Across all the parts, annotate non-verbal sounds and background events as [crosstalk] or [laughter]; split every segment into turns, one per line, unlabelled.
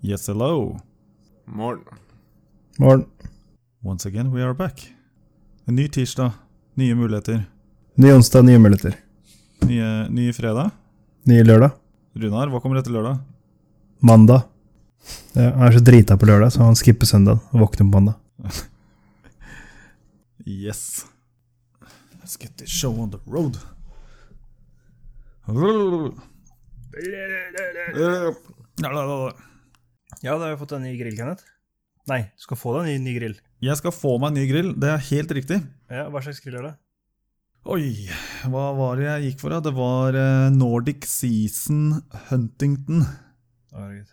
Yes, hello.
Morgen.
Morgen.
Once again, we are back. En ny tirsdag, nye muligheter.
Ny onsdag, nye muligheter.
Nye, nye fredag.
Ny lørdag.
Runar, hva kommer etter lørdag?
Mandag. Ja, Han er så drita på lørdag, så han skipper søndag og våkner på mandag.
Yes. Let's get this show on the road.
Ja, da har vi fått en ny grill, Kenneth. Nei, du skal få deg en ny, ny grill.
Jeg skal få meg en ny grill, det er helt riktig.
Ja, Hva slags grill er det?
Oi, hva var det jeg gikk for? da? Det var eh, Nordic Season Huntington.
Herregud.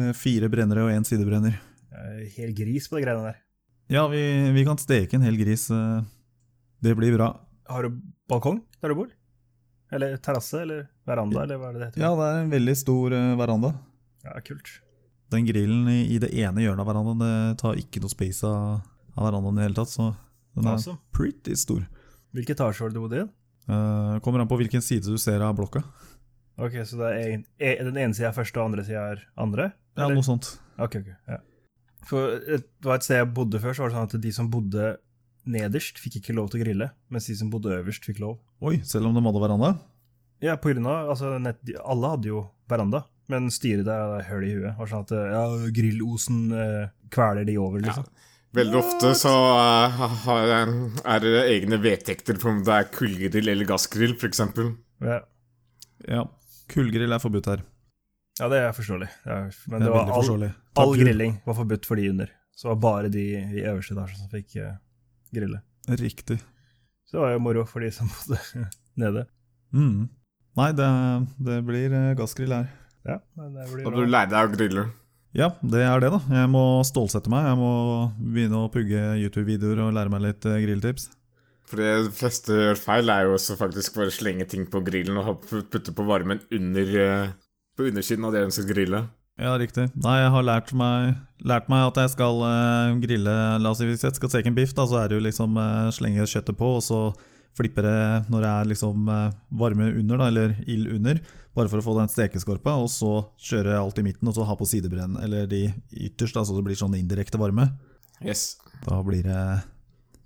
Med fire brennere og én sidebrenner.
Jeg er helt gris på de greiene der.
Ja, vi, vi kan steke en hel gris. eh. Det blir bra.
Har du balkong der du bor? Eller terrasse, eller veranda, eller hva er det det heter?
Ja, det er en veldig stor eh, veranda.
ja kult.
Den grillen i, i det ene hjørnet av verandaen det tar ikke noe space av, av verandaen i det hele tatt, så den er
Awesome.
pretty stor.
Hvilken etasje var det du bodde i?
Eh, kommer an på hvilken side du ser av blokka.
Ok, så det er en, e, den ene sida er første, og andre sida er andre?
Ja,
Eller-
noe sånt.
Ok, ok. Ja. For et- det var et sted jeg bodde før, så var det sånn at de som bodde nederst, fikk ikke lov til å grille, mens de som bodde øverst, fikk lov.
Oi, selv om de hadde veranda?
Ja, på grunn av, altså, nett, de- alle hadde jo veranda, men styret der hadde høl i huet. Var sånn at ja, grillosen eh, kveler de over, liksom.
Veldig ofte så eh, ha- har jeg- er det egne vedtekter på om det er kullgrill eller gassgrill, f.eks.
Ja,
Ja. Kullgrill er forbudt her.
ja det er forståelig. Det er, men
Det
det,
er
var
veldig
all,
forståelig.
all
Tabu.
grilling var forbudt for de under. Så det var bare de i øverste etasje som fikk eh, grille.
Riktig.
Så det var jo moro for de som bodde [laughs] nede.
Mm. Nei, det, det blir eh, gassgrill her.
Ja, men det blir
Da
bra.
bør du lære deg å grille.
Ja, det er det, da. Jeg må stålsette meg. Jeg må begynne å pugge YouTube-videoer og lære meg litt eh, grilltips.
For det de fleste gjør feil, er jo også faktisk bare slenge ting på grillen og ha- putte på varmen under eh, på undersiden av det de skal grille.
Ja, riktig. Nei, jeg har lært meg, lært meg at jeg skal eh, grille La oss si hvis jeg skal steke en biff, da, så er det jo liksom eh, slenge kjøttet på, og så flipper det når det er liksom eh, varme under, da, eller ild under, bare for å få den stekeskorpa, og så kjøre alt i midten, og så ha på sidebrenn, eller de ytterst, da, så det blir sånn indirekte varme.
Yes.
Da blir det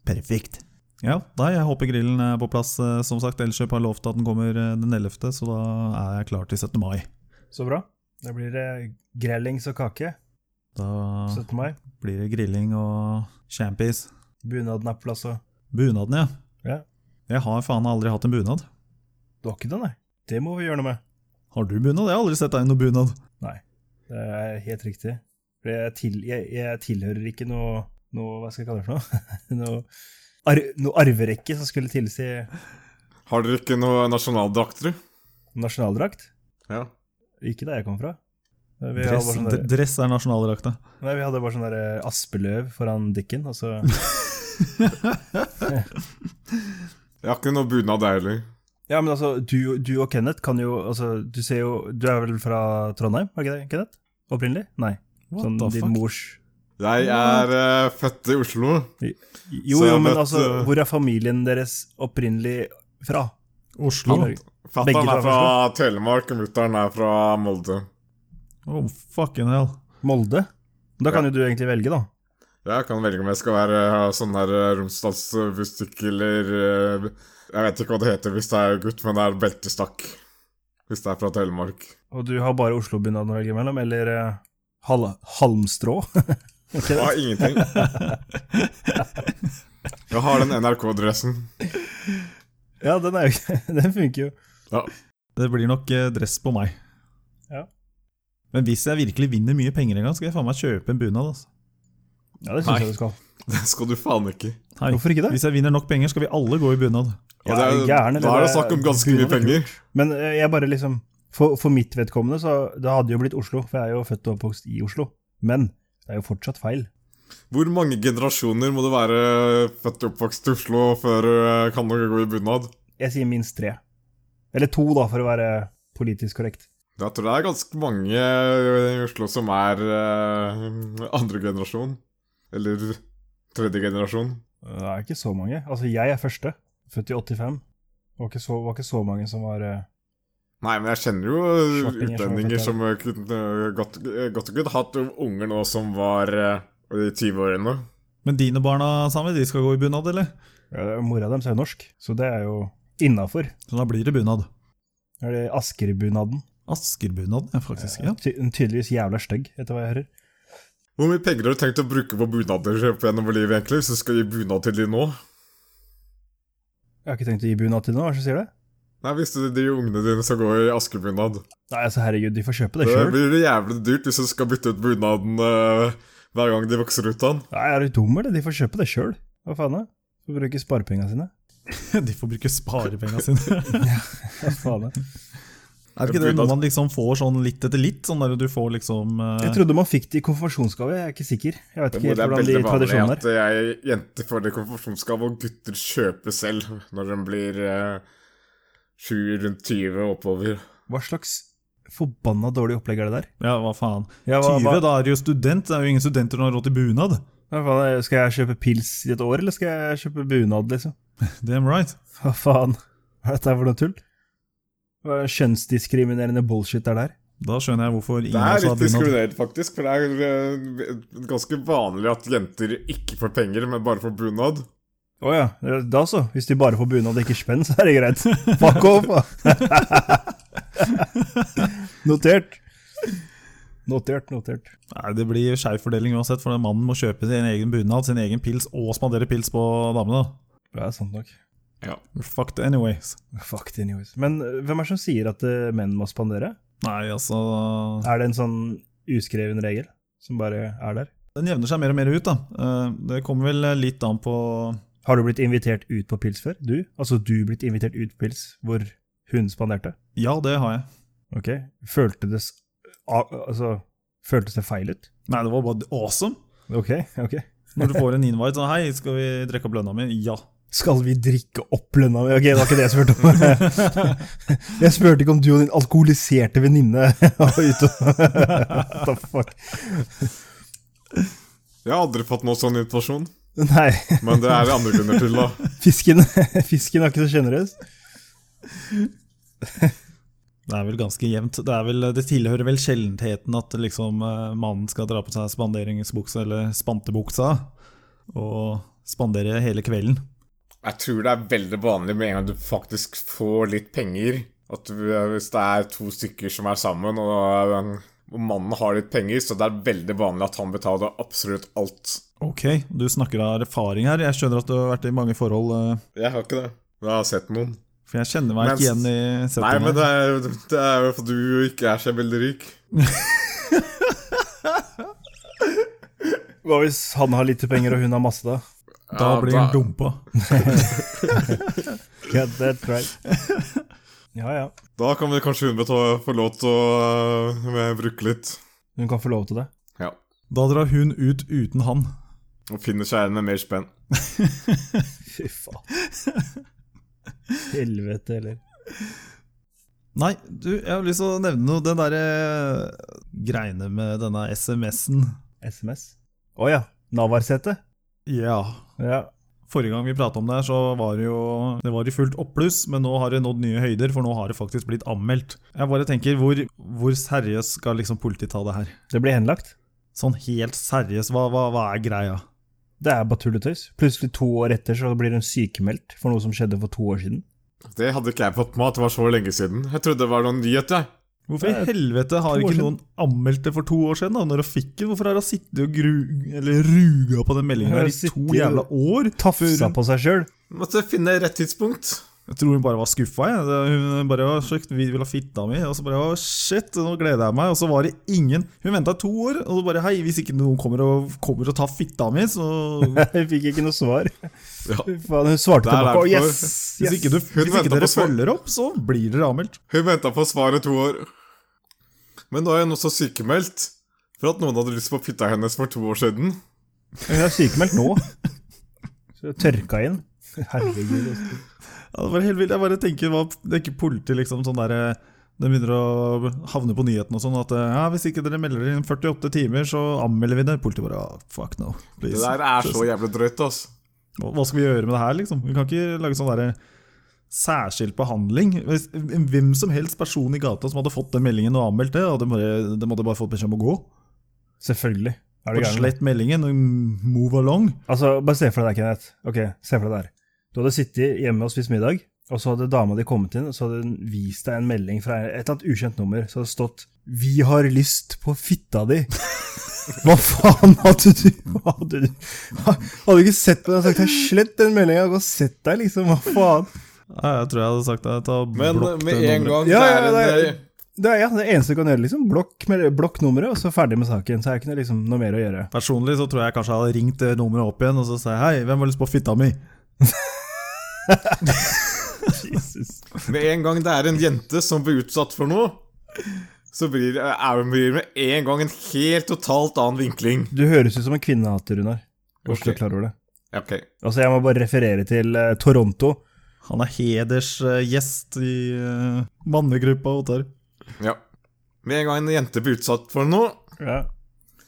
perfekt. Ja, nei, jeg håper grillen er på plass, eh, som sagt. Elkjøp har lovt at den kommer eh, den 11., så da er jeg klar til 17. mai.
Så bra. Da blir det grellings og kake
Da
17. mai.
blir det grilling og champies.
Bunaden er på plass. og-
Bunaden, ja.
Ja.
Jeg har faen aldri hatt en bunad.
Du har ikke det, nei? Det må vi gjøre noe med.
Har du bunad? Jeg har aldri sett deg i noen bunad.
Det er helt riktig. For jeg, til, jeg, jeg tilhører ikke noe, noe Hva skal jeg kalle det for noe? [laughs] noe, ar, noe arverekke som skulle tilsi
Har dere ikke noe nasjonaldrakter?
nasjonaldrakt.
Ja.
Ikke der jeg kom fra. Vi hadde
Dress,
bare sånn
d-
der-
dress er nasjonaldrakta.
nei, vi hadde bare sånn der aspeløv foran dikken, og så
Jeg har ikke noe bunad, jeg heller.
[laughs] Ja, men altså, du, du og Kenneth kan jo altså, Du ser jo Du er vel fra Trondheim, er ikke det, Kenneth? Opprinnelig? Nei.
What
Sånn
the
din
fuck?
mors
Jeg er eh, født i Oslo.
Jo,
Så jeg eh,
jo, men
møtte-
altså, hvor er familien deres opprinnelig fra?
Oslo.
Norge. Begge
Fatter'n
fra
er fra Telemark, og mutter'n er fra Molde.
Oh, fucking hell.
Molde? Da kan jo du egentlig velge, da.
Jeg kan velge om jeg skal være ha sånn der eh, Romsdalsbustikk eller eh, Jeg vet ikke hva det heter hvis det er gutt, men det er beltestakk. Hvis det er fra Telemark.
Og du har bare Oslo-bunaden å velge mellom, eller eh, hal halmstrå? [laughs] Ok,
Jeg
det-
har ingenting. Jeg har den NRK-dressen.
ja, den er jo ikke [laughs] Den funker jo.
Det blir nok eh, dress på meg.
Ja.
Men hvis jeg virkelig vinner mye penger en gang, skal jeg faen meg kjøpe en bunad. Altså.
Ja, det
Nei.
syns jeg du skal.
Det skal du faen ikke.
Nei.
Hvorfor ikke det?
Hvis jeg vinner nok penger, skal vi alle gå i bunad.
Og
Ja,
det er,
gjerne, det
da er det
der-
snakk om ganske mye
bunad er
penger.
Men eh, jeg bare liksom For, for mitt vedkommende, så det hadde jo blitt Oslo, for jeg er jo født og oppvokst i Oslo. Men det er jo fortsatt feil.
Hvor mange generasjoner må du være eh, født og oppvokst i Oslo før du kan du gå i bunad?
Jeg sier minst tre. Eller to, da, for å være politisk korrekt.
Jeg tror det er ganske mange i Oslo som er eh, andre generasjon. Eller tredje generasjon.
Det er ikke så mange. Altså, jeg er første. Født i 85. Det var ikke så, var ikke så mange som var eh,
Nei, men jeg kjenner jo
Slappinger som
utlendinger som
har fått
eh, kunne godt eh, godt og godt hatt unger nå som var eh, i 20-årene.
Men dine barna, Sami, de skal gå i bunad, eller?
Ja, mora deres er jo norsk, så det er jo innafor.
Så da blir det bunad.
Er det Askerbunaden?
Askerbunaden, ja, faktisk. Ja.
Ty tydeligvis jævla stygg, etter hva jeg hører.
Hvor mye penger har du tenkt å bruke på bunader opp gjennom livet, egentlig, hvis du skal gi bunad til de nå?
Jeg har ikke tenkt å gi bunad til noen, hva er det som sier det?
Nei, hvis du, de ungene dine skal gå i askebunad.
Nei, altså herregud, de får kjøpe det
Det
sjøl.
blir det jævlig dyrt hvis du skal bytte ut bunaden eh, hver gang de vokser ut av den.
Nei, er du dum, eller? De får kjøpe det sjøl. Hva faen, da? Får bruke sparepengene sine.
[laughs] De får bruke sparepengene sine.
Hva
[laughs]
faen, da?
Er ikke det noe man liksom får sånn litt etter litt? Sånn der du får liksom eh,
Jeg trodde man fikk det i konfirmasjonsgave, jeg er ikke sikker. Jeg vet ikke
Det
helt
er
hvordan de
veldig vanlig
tradisjonene
at
er.
jeg jenter får det i konfirmasjonsgave, og gutter kjøper selv når de blir eh, sju rundt 20 og oppover.
Hva slags forbanna dårlig opplegg er det der?
Ja, hva faen.
Ja, hva-
20,
hva-
da er du jo student. Det er jo ingen studenter som har råd til bunad.
Hva faen, skal jeg kjøpe pils i et år, eller skal jeg kjøpe bunad, liksom?
Damn right.
Hva faen? Hva er dette her for noe tull? Hva er kjønnsdiskriminerende bullshit er det her?
Da skjønner jeg hvorfor ingen
Det
av
er
oss har
litt
bunad.
diskriminert, faktisk, for det er eh, ganske vanlig at jenter ikke får penger, men bare får bunad.
Å ja, da så. Hvis de bare får bunad og ikke spenn, så er det greit. [laughs] Fuck off! da. [laughs] notert. Notert, notert.
Nei, Det blir skeiv fordeling uansett, for den mannen må kjøpe sin egen bunad, sin egen pils, og spandere pils på damene. da.
Det er sant nok.
Fuck it anyways.
Fuck the news. Men øh, hvem er det som sier at øh, menn må spandere?
Nei, altså
Er det en sånn uskreven regel som bare er der?
Den jevner seg mer og mer ut, da. Eh, Det kommer vel litt an på
Har du blitt invitert ut på pils før? Du? Altså du blitt invitert ut på pils hvor hun spanderte?
Ja, det har jeg.
Ok. Følte det, s- a- altså, føltes det feil ut?
Nei, det var bare awesome.
Ok, ok.
Når du får en invite sånn Hei, skal vi drikke opp lønna mi? Ja.
Skal vi drikke opp lønna mi? Ok, det var ikke det jeg spurte [laughs] om. jeg spurte ikke om du og din alkoholiserte venninne var ute og What the fuck?
Jeg har aldri fått noen sånn invitasjon,
Nei,
men det er det andre grunner til, da.
fisken, fisken er ikke så sjenerøs.
Det er vel ganske jevnt. Det, er vel, det tilhører vel sjeldenheten at liksom eh, mannen skal dra på seg spanderingsbuksa eller spantebuksa og spandere hele kvelden.
Jeg tror det er veldig vanlig med en gang du faktisk får litt penger. At du, hvis det er to stykker som er sammen, og, og mannen har litt penger, så det er veldig vanlig at han betaler absolutt alt.
Ok, du snakker av erfaring her. Jeg skjønner at du har vært i mange forhold, eh,
Jeg har ikke det. Jeg har sett noen.
for jeg kjenner meg ikke
Men-
igjen i
Nei, men
settingen.
det er jo det er jo fordi du ikke er så veldig rik.
Hva hvis han har lite penger og hun har masse, da?
Da
Ja,
blir
da-
han dumpa.
Get that right. Ja, ja.
Da kan vi kanskje hun beta- få lov til å øh, bruke litt.
Hun kan få lov til det.
Ja.
Da drar hun ut uten han.
Og finner seg en med mer spenn.
Fy faen. Helvete, eller?
Nei, du, jeg har lyst til å nevne noe. Den derre greiene med denne SMS-en.
SMS? Å ja. Navarsete?
Ja.
Ja.
Forrige gang vi prata om det, her, så var det jo Det var i fullt oppbluss, men nå har det nådd nye høyder, for nå har det faktisk blitt anmeldt. Jeg bare tenker, hvor, hvor seriøst skal liksom politiet ta det her?
Det blir henlagt?
Sånn helt seriøst, hva, hva, hva er greia?
Det er bare tull og tøys. Plutselig to år etter så blir hun sykemeldt for noe som skjedde for to år siden.
Det hadde ikke jeg fått med at det var så lenge siden. Jeg trodde det var noen nyhet, jeg.
Hvorfor
Det
i
er
helvete har
to år
ikke
siden.
noen anmeldt det for to år siden? da, når hun fikk det? Hvorfor har hun sittet og gru, eller ruga på den meldingen
Hun har
her i
sittet
to
og
jævla år?
Tafsa
Før-
på seg [laughs] sjøl.
Måtte finne rett tidspunkt.
Jeg tror hun bare var skuffa. jeg. Det- Hun bare var sjukt, vi vil ha fitta mi. Og så bare å, shit, nå gleder jeg meg. Og så var det ingen Hun venta to år, og så bare hei, hvis ikke noen kommer og, kommer og tar fitta mi,
[laughs]
så
Hun fikk ikke noe svar.
Ja.
Fy Faen, hun svarte
Der er
tilbake. Å,
vi for-
yes!
Hvis
yes.
ikke, du,
Hun
hvis ikke
ventet
dere
på svar.
følger opp, så blir dere anmeldt.
Hun venta på svaret i to år. Men nå er hun også sykemeldt for at noen hadde lyst på fitta hennes for to år siden.
Hun er sykemeldt nå. Så hun tørka inn.
[laughs]
Herregud. altså.
Ja, det var helt vilt. Jeg bare tenker hva Det er ikke politi, liksom. Sånn der, eh, det begynner å havne på nyhetene og sånn at eh, ja, hvis ikke dere melder dere inn 48 timer, så anmelder vi det. Politiet bare ah, fuck no.
Det
Please.
der er så jævlig drøyt, ass.
Hva hva skal vi gjøre med det her, liksom? Vi kan ikke lage sånn derre særskilt behandling. Hvis, hvem som helst person i gata som hadde fått den meldingen og anmeldt det, hadde bare, de måtte bare fått beskjed om å gå.
Selvfølgelig. Er du
Bare
gæren?
slett meldingen og move along.
Altså, bare se for deg det, Kenneth. Ok, se for deg det her. Du hadde sittet hjemme og spist middag, og så hadde dama di kommet inn, og så hadde hun vist deg en melding fra et eller annet ukjent nummer, så hadde det stått 'Vi har lyst på fitta di'. Hva faen hadde du Hadde du hadde du ikke sett på den og sagt «Jeg 'slett den meldinga', gå og sett deg, liksom, hva faen?
Ja, Jeg tror jeg hadde sagt det. Ta og
Men eh,
blokk
med
det
en
nummeret.
gang
Ja,
det
ja,
er en
det er- Det er ja, det eneste du kan gjøre, liksom. Blokk, med- blokk nummeret, og så ferdig med saken. Så er det ikke noe, liksom, noe mer å gjøre.
Personlig så tror jeg kanskje jeg hadde ringt det nummeret opp igjen og så sa jeg, hei, hvem har lyst på fitta mi?
Jesus.
Med en gang det er en jente som blir utsatt for noe, så blir eh, er hun blir med en gang en helt totalt annen vinkling.
Du høres ut som en kvinnehater, Runar. Hvis du
Ok.
er klar over det.
Ok.
Altså, jeg må bare referere til eh, Toronto.
Han er hedersgjest i eh, mannegruppa Ottar.
Ja. Med en gang en jente blir utsatt for noe,
Ja.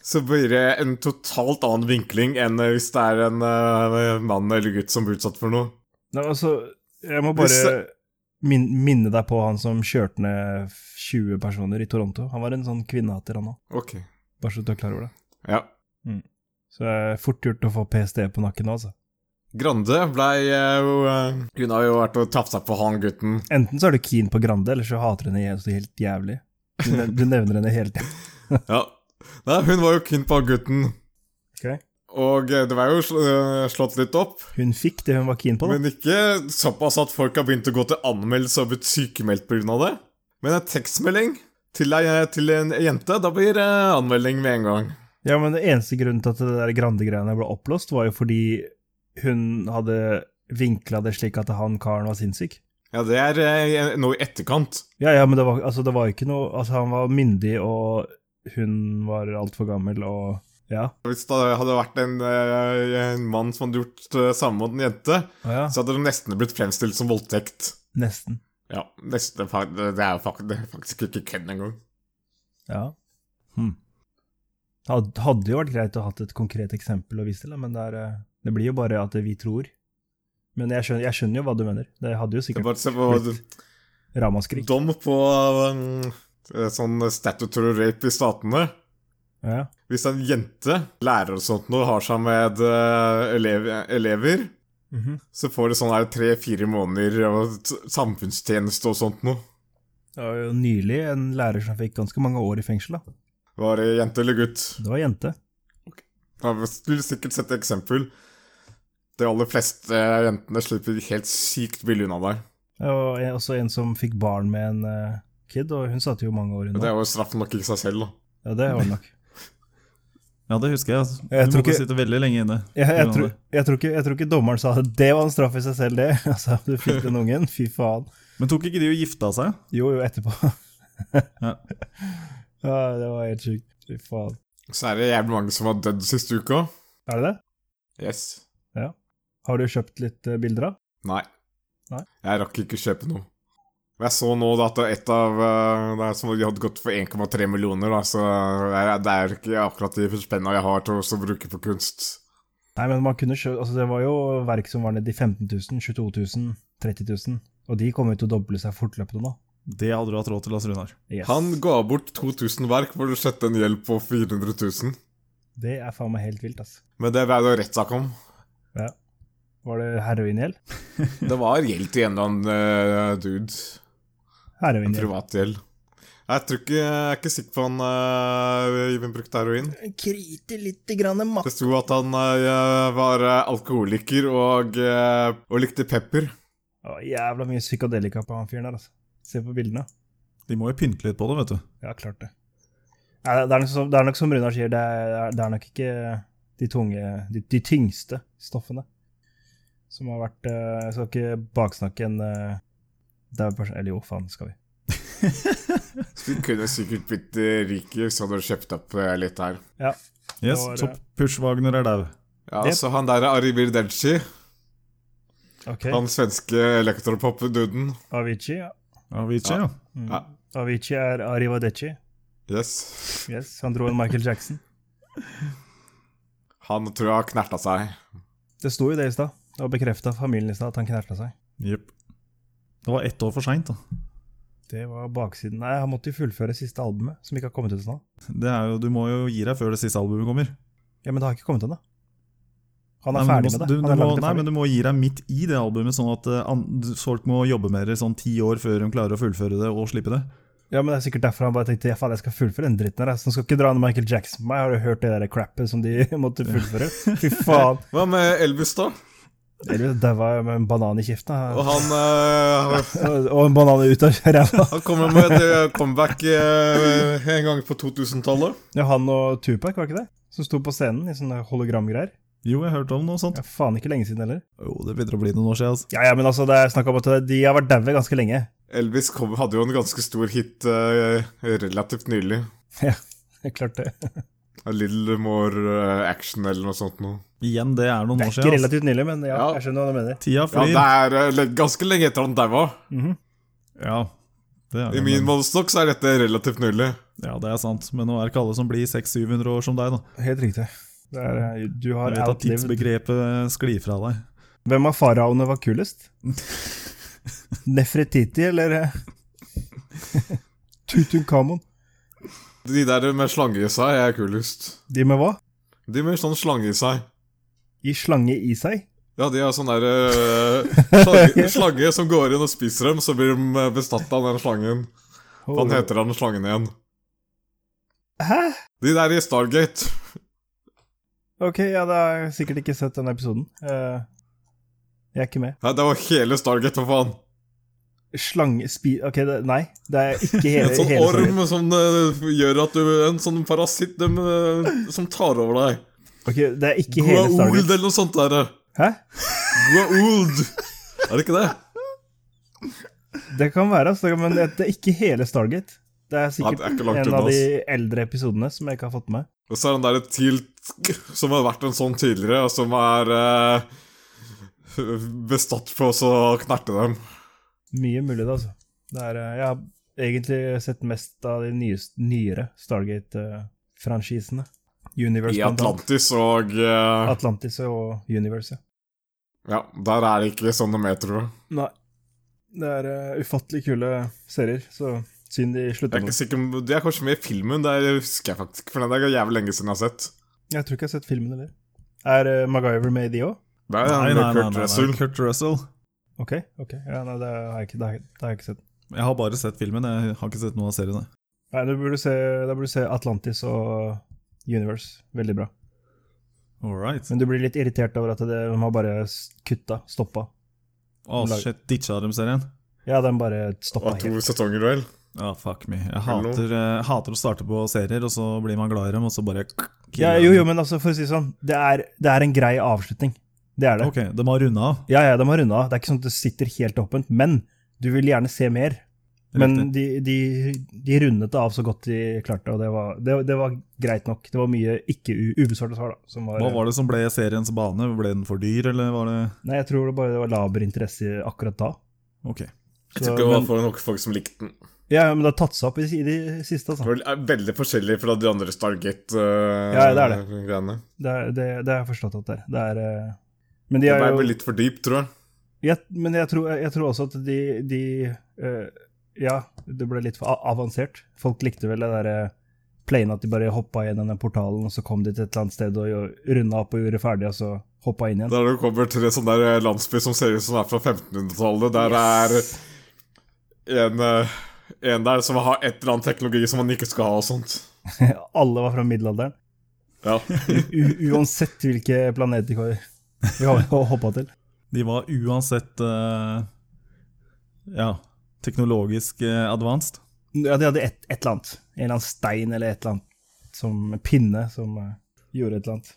så blir det en totalt annen vinkling enn eh, hvis det er en eh, mann eller gutt som blir utsatt for noe.
Nei, altså, jeg må bare
Hvis-
min minne deg på han som kjørte ned 20 personer i Toronto. Han var en sånn kvinnehater, han òg.
Ok.
Bare så du er klar over det. Mm.
Ja.
Så det er fort gjort å få PST på nakken nå, altså.
Grande blei eh, jo eh, Hun har jo vært og tafsa på han gutten.
Enten så er du keen på Grande, eller så hater du henne helt- helt jævlig. Du, nev du nevner henne hele tiden.
Ja. Nei, hun var jo keen på han gutten.
Ok.
Og eh, det var jo sl- eh, slått litt opp.
Hun fikk det hun var keen på, da.
Men ikke såpass at folk har begynt å gå til anmeldelse og blitt sykemeldt pga. det. Men en tekstmelding til ei, eh, til en jente, da blir det anmelding med en gang.
Ja, men det eneste grunnen til at det der Grande-greiene ble oppblåst, var jo fordi hun hadde vinkla det slik at han karen var sinnssyk.
Ja, det er eh, noe i etterkant.
Ja, ja, men det var, altså, det var jo ikke noe Altså, han var myndig, og hun var altfor gammel, og Ja.
Hvis det hadde vært en, eh, en mann som hadde gjort det samme mot en jente,
Å ja.
så hadde det nesten blitt fremstilt som voldtekt.
Nesten.
Ja, nesten, fa- det er jo fak- det er faktisk ikke kødd engang.
Ja. Hm. Had, hadde jo vært greit å ha hatt et konkret eksempel å vise til, da, men det, er, eh, det blir jo bare at vi tror. Men jeg skjønner, jeg skjønner jo hva du mener. Det hadde jo
Det er
sikkert
bare se på
ramaskrik.
dom på eh, sånn statutory rape i statene.
Ja.
Hvis en jente, lærer og sånt noe, har seg med eh, elev, elever,
Mhm.
så får de sånn her tre-fire måneder og t- samfunnstjeneste og sånt noe.
Det var jo nylig en lærer som fikk ganske mange år i fengsel. da.
Var det jente eller gutt?
Det var jente.
Ja, men Du vil sikkert sette eksempel. De aller fleste eh, jentene slipper helt sykt billig unna der.
Og en- også en som fikk barn med en eh, kid, og hun satt jo mange år
Og
unna.
det er jo straffen nok i seg selv, da.
Ja, det var det nok.
Ja, det husker jeg. Altså.
Jeg
du
tror
måtte
ikke-
sitte veldig lenge inne.
Jeg, jeg,
Gjorde
tror,
det.
jeg, tror ikke, jeg tror ikke dommeren sa at det var en straff i seg selv, det. [laughs] Altså, du fikk den ungen, fy faen.
Men tok ikke de og gifta seg?
Jo, jo, etterpå.
[laughs] Ja.
[laughs] Ja, det var helt sjukt. Fy faen.
Så er det jævlig mange som har dødd siste uka.
Er det det?
Yes.
Har du kjøpt litt eh, bilder av?
Nei.
Nei.
Jeg rakk ikke kjøpe noe. Og Jeg så nå da at et av eh, det er som de hadde gått for 1,3 millioner, da, så jeg- det er ikke akkurat de spenna jeg har til å også bruke på kunst.
Nei, men man kunne kjøpt Altså, det var jo verk som var nede i 15 000, 22 000, 30 000. Og de kommer jo til å doble seg fortløpende nå.
Det hadde du hatt råd til, Lars Runar.
Yes.
Han ga bort 2000 verk for å sette en gjeld på 400 000.
Det er faen meg helt vilt, altså.
Men det ble det rettssak om.
Var det heroingjeld?
Det var gjeld til en eller annen eh, dude. En
Heroingjeld.
privatgjeld. Jeg tror ikke, jeg er ikke sikker på han eh, Even brukte heroin.
Krite lite grann
Det sto at han eh, var eh, alkoholiker og, eh, og likte pepper.
Jævla mye psykadelika på han fyren der, altså. Se på bildene.
De må jo pynte litt på det, vet du.
Ja, klart det. Nei, det, er nok som, det er nok som Runar sier, det er, det er nok ikke de, tunge, de, de tyngste stoffene som har vært eh, Jeg skal ikke baksnakke en eh, daud person Eller jo, faen, skal vi.
Så du kunne sikkert blitt eh, rik hvis du hadde kjøpt opp eh, litt her.
Yes,
var det.
så Pushwagner er dau.
Ja,
Det-
Så han der er Aribir Delci,
Ok,
han svenske elektropop-duden.
Avicii, ja.
Avicii, ja.
Mm.
Ja.
Avicii er Arrivadecci.
Yes.
Yes, han dro en Michael Jackson.
Han tror jeg har knerta seg.
Det sto jo det i stad. Det var bekrefta av familien i stad at han knerta seg.
Jepp. Det var ett år for seint, da.
Det var baksiden. Nei, han måtte jo fullføre siste albumet, som ikke har kommet ut ennå.
Det er jo, du må jo gi deg før det siste albumet kommer.
Ja, men det har ikke kommet ennå. Han er
Nei, men du
ferdig
må-
med det.
Du,
Han
du
har
må,
laget det
nei,
ferdig.
men du må gi deg midt i det albumet, sånn at eh, an, du- folk må jobbe med det sånn ti år før de klarer å fullføre det og slippe det.
Ja, men det er sikkert derfor han bare tenkte ja, faen, jeg skal fullføre den dritten her. Så skal ikke dra ned Michael Jackson på meg. Har du hørt det der crappet som de [laughs] måtte
[laughs]
fullføre? Fy faen.
Hva med Elvis, da?
Elvis daua jo med en banan i kjeften.
Og
da.
han, eh,
[laughs] Og en banan ut av ræva.
han kommer med et eh, comeback eh, en gang på 2000-tallet.
Ja, han og Tupac, var ikke det? Som sto på scenen i sånne hologramgreier.
Jo, jeg hørte om noe sånt.
Ja, faen ikke lenge siden heller.
Jo, det begynner å bli noen år siden. Altså.
Ja, ja, men altså, det er snakk om at de har vært daue ganske lenge. [laughs]
Elvis kom, hadde jo en ganske stor hit eh, relativt nylig.
Det er Klart det.
A little more eh, action eller noe sånt noe.
Igjen, det er noen år
Det er ikke
siden. Altså.
relativt nylig, men ja,
Ja.
jeg skjønner hva du mener.
Tida
Ja,
flyr.
det er eh, le- ganske lenge etter han daua.
Mhm.
Ja, det er,
I
det,
min
men-
målestokk så er dette relativt nylig.
ja, det er sant, men nå er det ikke alle som blir 600-700 år som deg, da.
Helt riktig. Det er, eh, du har
Jeg vet at
outlived
tidsbegrepet sklir fra deg.
Hvem av faraoene var
[laughs]
kulest? Nefretiti eller eh, Tutunkamon?
De der med slange i seg er kulest.
De med hva?
De med sånn slange i seg.
I slange i seg?
Ja, de har sånn der eh,
[laughs]
slange, slange som går inn og spiser dem, så blir de eh, bestattet av den slangen. Hva
Holy-
heter den slangen igjen?
Hæ?
De der i Stargate.
Ok, ja, da har jeg sikkert ikke sett den episoden. Eh, jeg er ikke med.
Nei, det var hele Stargate, hva faen.
Slange... Spi... Ok, det, nei. Det er
[laughs]
ikke hele,
En sånn
hele
orm
storyen.
som eh, gjør at du En sånn parasitt dem, eh, som tar over deg.
Ok, det er ikke hele
Guauld
Stargate.
eller noe sånt derre.
Hæ?
Guauld. Er det ikke det?
Det kan være, altså, men det det er ikke hele Stargate. Det er
Nei,
sikkert
det er ikke
en
langt unna,
av de
ass.
eldre episodene som jeg ikke har fått med.
Og så er den der Tilt [laughs] som har vært en sånn tidligere, og som er eh, bestatt på å så knerte dem.
Mye mulig, det, altså. Det er, eh, jeg har egentlig sett mest av de nyest, nyere Stargate-franchisene. Universe,
I
blant annet.
Atlantis og eh,
Atlantis og Universe, ja.
Ja, der er det ikke sånn de er, tror jeg.
Nei. Det er eh, ufattelig kule serier, så synd de
jeg
slutter
er
med
ikke
det.
sikker, om- det er kanskje med i filmen, det er- husker jeg faktisk ikke, for den er jævlig lenge siden jeg har sett.
Jeg tror ikke jeg har sett filmen heller. Er eh, MacGyver med i de òg?
Det er nei, nei, Kurt Russell.
Kurt Russell.
Ok, ok. Ja, nei, det har jeg ikke, det har jeg, det har jeg ikke sett.
Jeg har bare sett filmen, jeg har ikke sett noe av seriene.
Nei, da burde, du se, da burde du se Atlantis og Universe. Veldig bra.
All right.
Men du blir litt irritert over at det, de har bare s- kutta, stoppa.
Å, shit, ditcha dem serien?
Ja, den bare stoppa
Og
helt.
to sesonger, vel.
Ja, fuck me. Jeg
Hello.
hater, eh, hater å starte på serier, og så blir man glad i dem, og så bare
Ja, jo, jo, men altså, for å si det sånn, det er, det er en grei avslutning. Det er det.
Ok, de har runda av.
Ja, ja, de har runda av. Det er ikke sånn at det sitter helt åpent, men du vil gjerne se mer. Men
Riktig.
de, de, de rundet det av så godt de klarte, og det var, det, det var greit nok. Det var mye ikke u- ubesvarte svar, da. Som var,
Hva var det som ble seriens bane? Ble den for dyr, eller var det
Nei, jeg tror det bare det var laber interesse akkurat da.
Ok.
Jeg
Så-
tror ikke det var
men-
for nok folk som likte den.
Ja, men det har tatt seg opp i, i det siste,
Det
altså.
var er veldig forskjellig fra de andre eh,
Ja, det er det.
Stargate-greiene.
Det, er- det, det har jeg forstått at det er. Det er eh, men de
det
er
ble
jo
litt for dypt, tror jeg.
jeg, Men jeg tror, jeg tror også at de, de eh, Ja, det ble litt for a- avansert. Folk likte vel det derre planen at de bare hoppa gjennom den portalen, og så kom de til et eller annet sted og jo- runda opp og gjorde ferdig, og så hoppa inn igjen.
Der det kommer til en sånn der landsby som ser ut som er fra 1500-tallet. Der er en, eh, en der som har et eller annet teknologi som han ikke skal ha og sånt.
[laughs] Alle var fra middelalderen.
[laughs] Ja.
U uansett hvilke planeter de kom- vi ho- hoppa til.
De var uansett eh, Ja, teknologisk eh, advanced.
Ja, de hadde et, et eller annet. En eller annen stein eller et eller annet som en pinne som eh, gjorde et eller annet.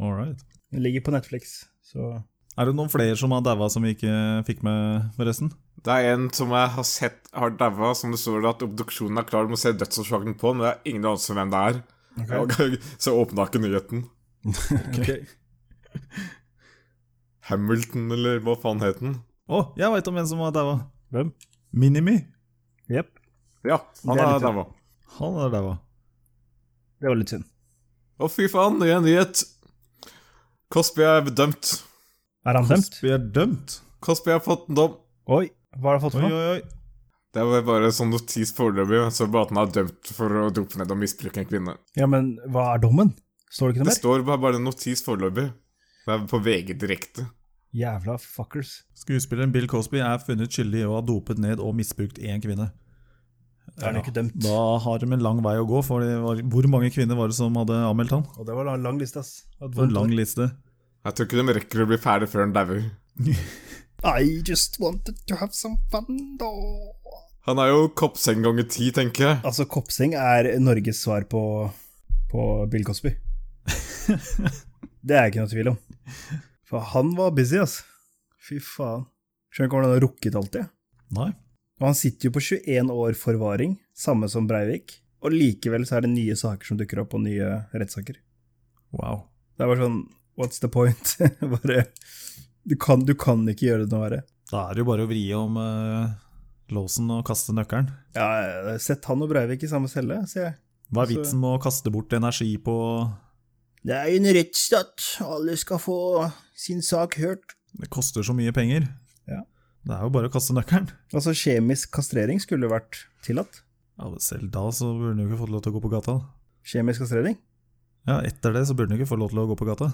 All right.
Den ligger på Netflix, så
Er det noen flere som har daua som vi ikke fikk med, forresten?
Det er en som jeg har sett har daua, som det står at obduksjonen er klar, du må se dødsårsaken på, men det er ingen anelse om hvem det er. Og [laughs] Så åpna ikke nyheten. [laughs]
Ok.
Hamilton, eller hva faen het den?
Å, jeg veit om en som har daua.
Hvem?
Minimi.
Jepp.
Ja, han
Det er
er
litt-
daua.
Han har daua.
Det var litt synd.
Å, fy faen, ny nyhet! Cosby er dømt.
Er han dømt?
Vi er dømt.
Cosby har fått en dom.
Oi. Hva har du fått
Oi,
for noe?
oi, oi.
Det var bare sånn notis foreløpig, så bare at han er dømt for å dope ned og misbruke en kvinne.
Ja, men hva er dommen? Står det ikke noe
Det
mer?
står bare, bare notis foreløpig. Det er på VG direkte.
Jævla fuckers.
Skuespilleren Bill Cosby er funnet skyldig i å ha dopet ned og misbrukt én kvinne.
Er han ikke dømt?
Da har de en lang vei å gå, for det var, hvor mange kvinner var det som hadde anmeldt han?
Og det var en lang liste, ass. Det
For en lang liste.
Jeg tror ikke de rekker å bli ferdig før han dauer.
I just wanted to have some fun, though.
Han er jo koppseng ganger ti, tenker jeg.
Altså, Kopseng er Norges svar på, på Bill Cosby. det er jeg ikke noe tvil om. For han var busy, ass. Fy faen. Skjønner ikke hvordan han har rukket alt det.
Nei.
Og han sitter jo på 21 år forvaring, samme som Breivik. Og likevel så er det nye saker som dukker opp, og nye rettssaker.
Wow.
Det er bare sånn What's the point? [laughs] bare, du, kan, du kan ikke gjøre det noe verre.
Da er det jo bare å vri om eh, låsen og kaste nøkkelen.
Ja, jeg har sett han og Breivik i samme celle, sier jeg.
Hva er
Så-
vitsen med å kaste bort energi på
Det er en rettsstat. Alle skal få sin sak hørt.
Det koster så mye penger.
Ja.
Det er jo bare å kaste nøkkelen.
Altså, kjemisk kastrering skulle jo vært tillatt.
Ja, men selv da så burde han jo ikke fått lov til å gå på gata.
Kjemisk kastrering?
Ja, etter det så burde han ikke få lov til å gå på gata.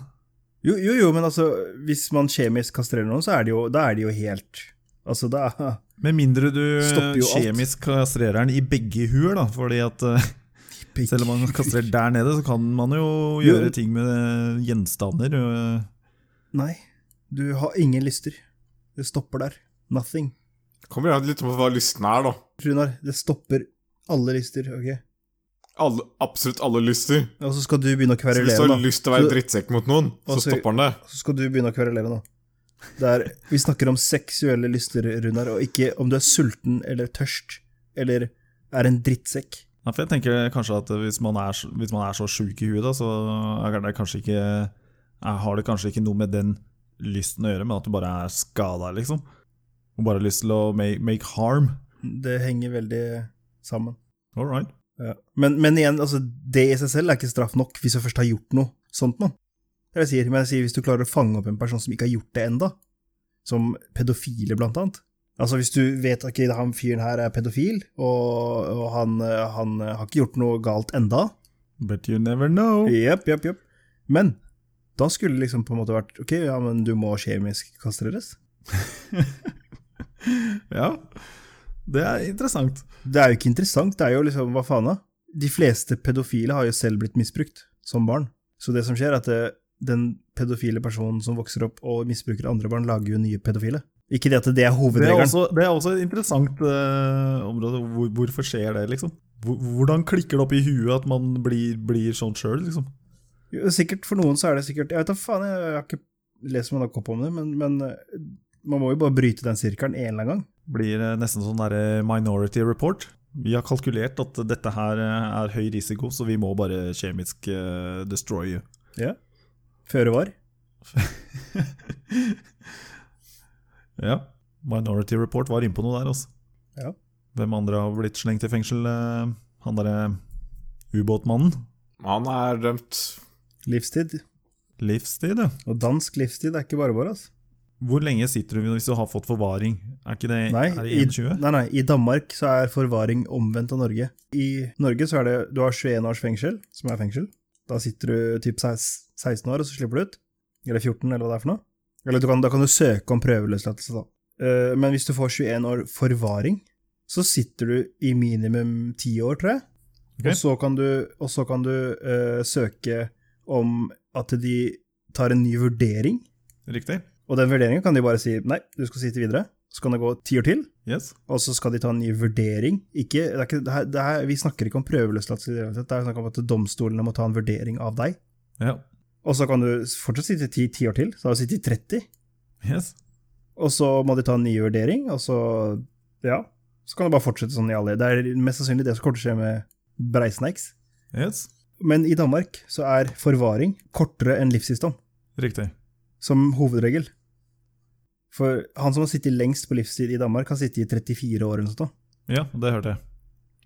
Jo, jo, jo, men altså, hvis man kjemisk kastrerer noen, så er det jo, da er det jo helt Altså, da [laughs]
Med mindre du eh,
Stopper jo alt.
kjemisk kastrerer den i begge huer, da. Fordi at
[laughs]
eh, selv om man kastrerer der nede, så kan man jo
Jo.
gjøre ting med eh, gjenstander. eh.
[laughs] Nei, du har ingen lyster. Det stopper der. Nothing.
Kommer gjerne litt an på hva lysten er, da.
Runar, det stopper alle lyster, ok?
Alle, absolutt alle lyster.
Og så skal du begynne å
Så hvis du
kverulere,
har
da.
lyst til å være
Så-
drittsekk mot noen, så
Og så-
stopper han det.
Så skal du begynne å kverulere nå. Det er, vi snakker om seksuelle lyster, Runar, og ikke om du er sulten eller tørst, eller er en drittsekk.
Ja, for jeg tenker kanskje at hvis man er, så- hvis man er så sjuk i huet, da, så er det kanskje ikke, er- har det kanskje ikke noe med den lysten å gjøre, men at du bare er skada, liksom. Og bare har lyst til å make, make harm.
Det henger veldig sammen.
All right.
Ja. Men, men igjen, altså, det i seg selv er ikke straff nok hvis du først har gjort noe sånt noe. Det er det jeg sier, men jeg sier hvis du klarer å fange opp en person som ikke har gjort det enda, som pedofile blant annet. Altså hvis du vet at ikke han fyren her er pedofil, og, og han, eh, han eh, har ikke gjort noe galt enda,
But you never know.
Jepp, jepp, jepp. Men da skulle det liksom på en måte vært Ok, ja, men du må kjemisk kastreres.
Ja, det er interessant.
Det er jo ikke interessant. Det er jo liksom Hva faen, da? De fleste pedofile har jo selv blitt misbrukt som barn. Så det som skjer, er at eh, den pedofile personen som vokser opp og misbruker andre barn, lager jo nye pedofile. Ikke det at det er
Det er
hovedregelen.
også, det er også et interessant eh, område. Hvor, hvorfor skjer det, liksom? Hvor- Hvordan klikker det opp i huet at man blir, blir sånn sjøl, liksom?
Jo, Sikkert For noen så er det sikkert Jeg vet da faen, jeg har ikke lest meg nok opp om det, men, men eh, man må jo bare bryte den sirkelen en eller annen gang.
blir eh, nesten sånn der eh, minority report. Vi har kalkulert at dette her eh, er høy risiko, så vi må bare kjemisk eh, destroy [laughs] you.
Føre var.
Ja, minority report var innpå noe der, altså.
Ja.
Hvem andre har blitt slengt i fengsel? eh, Han derre ubåtmannen?
Han er dømt.
Livstid.
Livstid, ja.
Og dansk livstid er ikke bare bare, altså.
Hvor lenge sitter du hvis du har fått forvaring? Er ikke det,
Nei,
er det
i,
21?
nei, nei, i Danmark så er forvaring omvendt av Norge. I Norge så er det du har 21 års fengsel, som er fengsel. Da sitter du typ seis- 16 år, og så slipper du ut. Eller 14, eller hva det er for noe. Eller du kan, da kan du søke om prøveløslatelse, da. Eh, Men hvis du får 21 år forvaring, så sitter du i minimum 10 år, tror jeg.
Ok.
Og så kan du, og så kan du eh, søke om at de tar en ny vurdering.
Riktig?
Og den vurderingen kan de bare si nei, du skal sitte videre. Så kan det gå ti år til,
Yes.
og så skal de ta en ny vurdering. Ikke, det er ikke, det her, det her, vi snakker ikke om prøveløslatelse, i det hele tatt. det er snakk om at domstolene må ta en vurdering av deg.
Ja.
Og så kan du fortsatt sitte ti, ti år til, så har du sittet i 30,
Yes.
og så må de ta en ny vurdering, og så ja, så kan du bare fortsette sånn i alle Det er mest sannsynlig det som kommer til å skje med breisnacks.
Yes.
Men i Danmark så er forvaring kortere enn livsvisdom.
Riktig.
som hovedregel. For han som har sittet lengst på livstid i Danmark, har sittet i 34 år eller noe sånt. da.
Ja, det hørte jeg.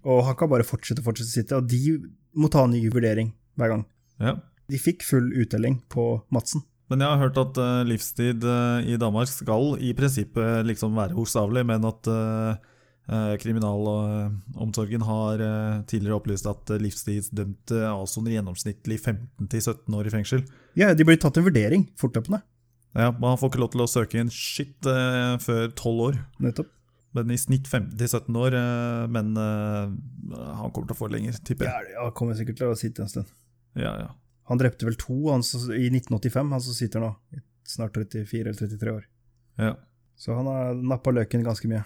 Og han kan bare fortsette og fortsette å sitte, og de må ta en ny vurdering hver gang.
Ja.
De fikk full uttelling på Madsen.
Men jeg har hørt at eh, livstid eh, i Danmark skal i prinsippet liksom være bokstavelig, men at eh, eh, kriminalomsorgen har eh, tidligere opplyst at eh, livstidsdømte avsoner gjennomsnittlig 15-17 år i fengsel.
Ja, de blir tatt til vurdering fortløpende.
Ja, Man får ikke lov til å søke inn shit eh, før 12 år,
Nettopp.
men i snitt 15-17 år. eh, men eh, han kommer til å få lenger, tipper jeg.
Ja, det- ja, kommer sikkert til å sitte en stund.
Ja, ja.
Han drepte vel to han som, i 1985, han som sitter nå. i Snart 34 eller 33 år.
Ja.
Så han har nappa løken ganske mye.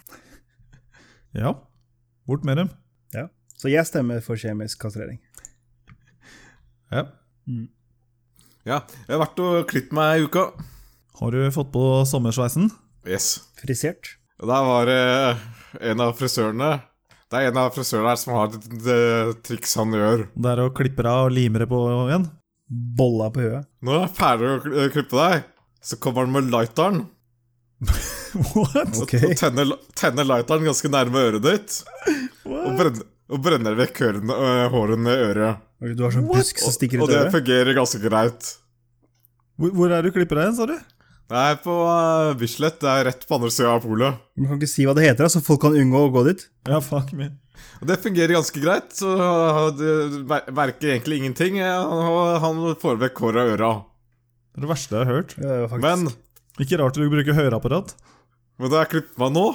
ja. Bort med dem.
Så jeg stemmer for kjemisk kastrering.
Ja.
Ja, jeg har vært og klippet meg i uka.
Har du fått på sommersveisen?
Yes.
Frisert.
Og der var det en av frisørene Det er en av frisørene her som har et, et, et triks han gjør.
Det er å klippe deg av og lime det på igjen? [laughs]
Bolla på huet.
Når han er ferdig å kl- klippe deg, så kommer han med lighteren.
What?
Ok.
Og tenner, tenner lighteren ganske nærme øret ditt. Og brenner, og brenner vekk ørene, øh, hårene i øret.
Du har sånn busk som stikker
Og
ut i
det
øret.
fungerer ganske greit.
Hvor, hvor er det du klipper deg hen, sa du?
Nei, på øh, Bislett. Det er rett på andre sida av polet.
Man kan ikke si hva det heter, da, så folk kan unngå å gå dit.
Ja, fuck me.
Og det fungerer ganske greit. Så øh, det mer- merker egentlig ingenting. øh, Og han får vekk håret og øra.
Det er det verste jeg har hørt.
Ja, ja, faktisk.
Men
Ikke rart du bruker høreapparat.
Men da jeg klippet meg nå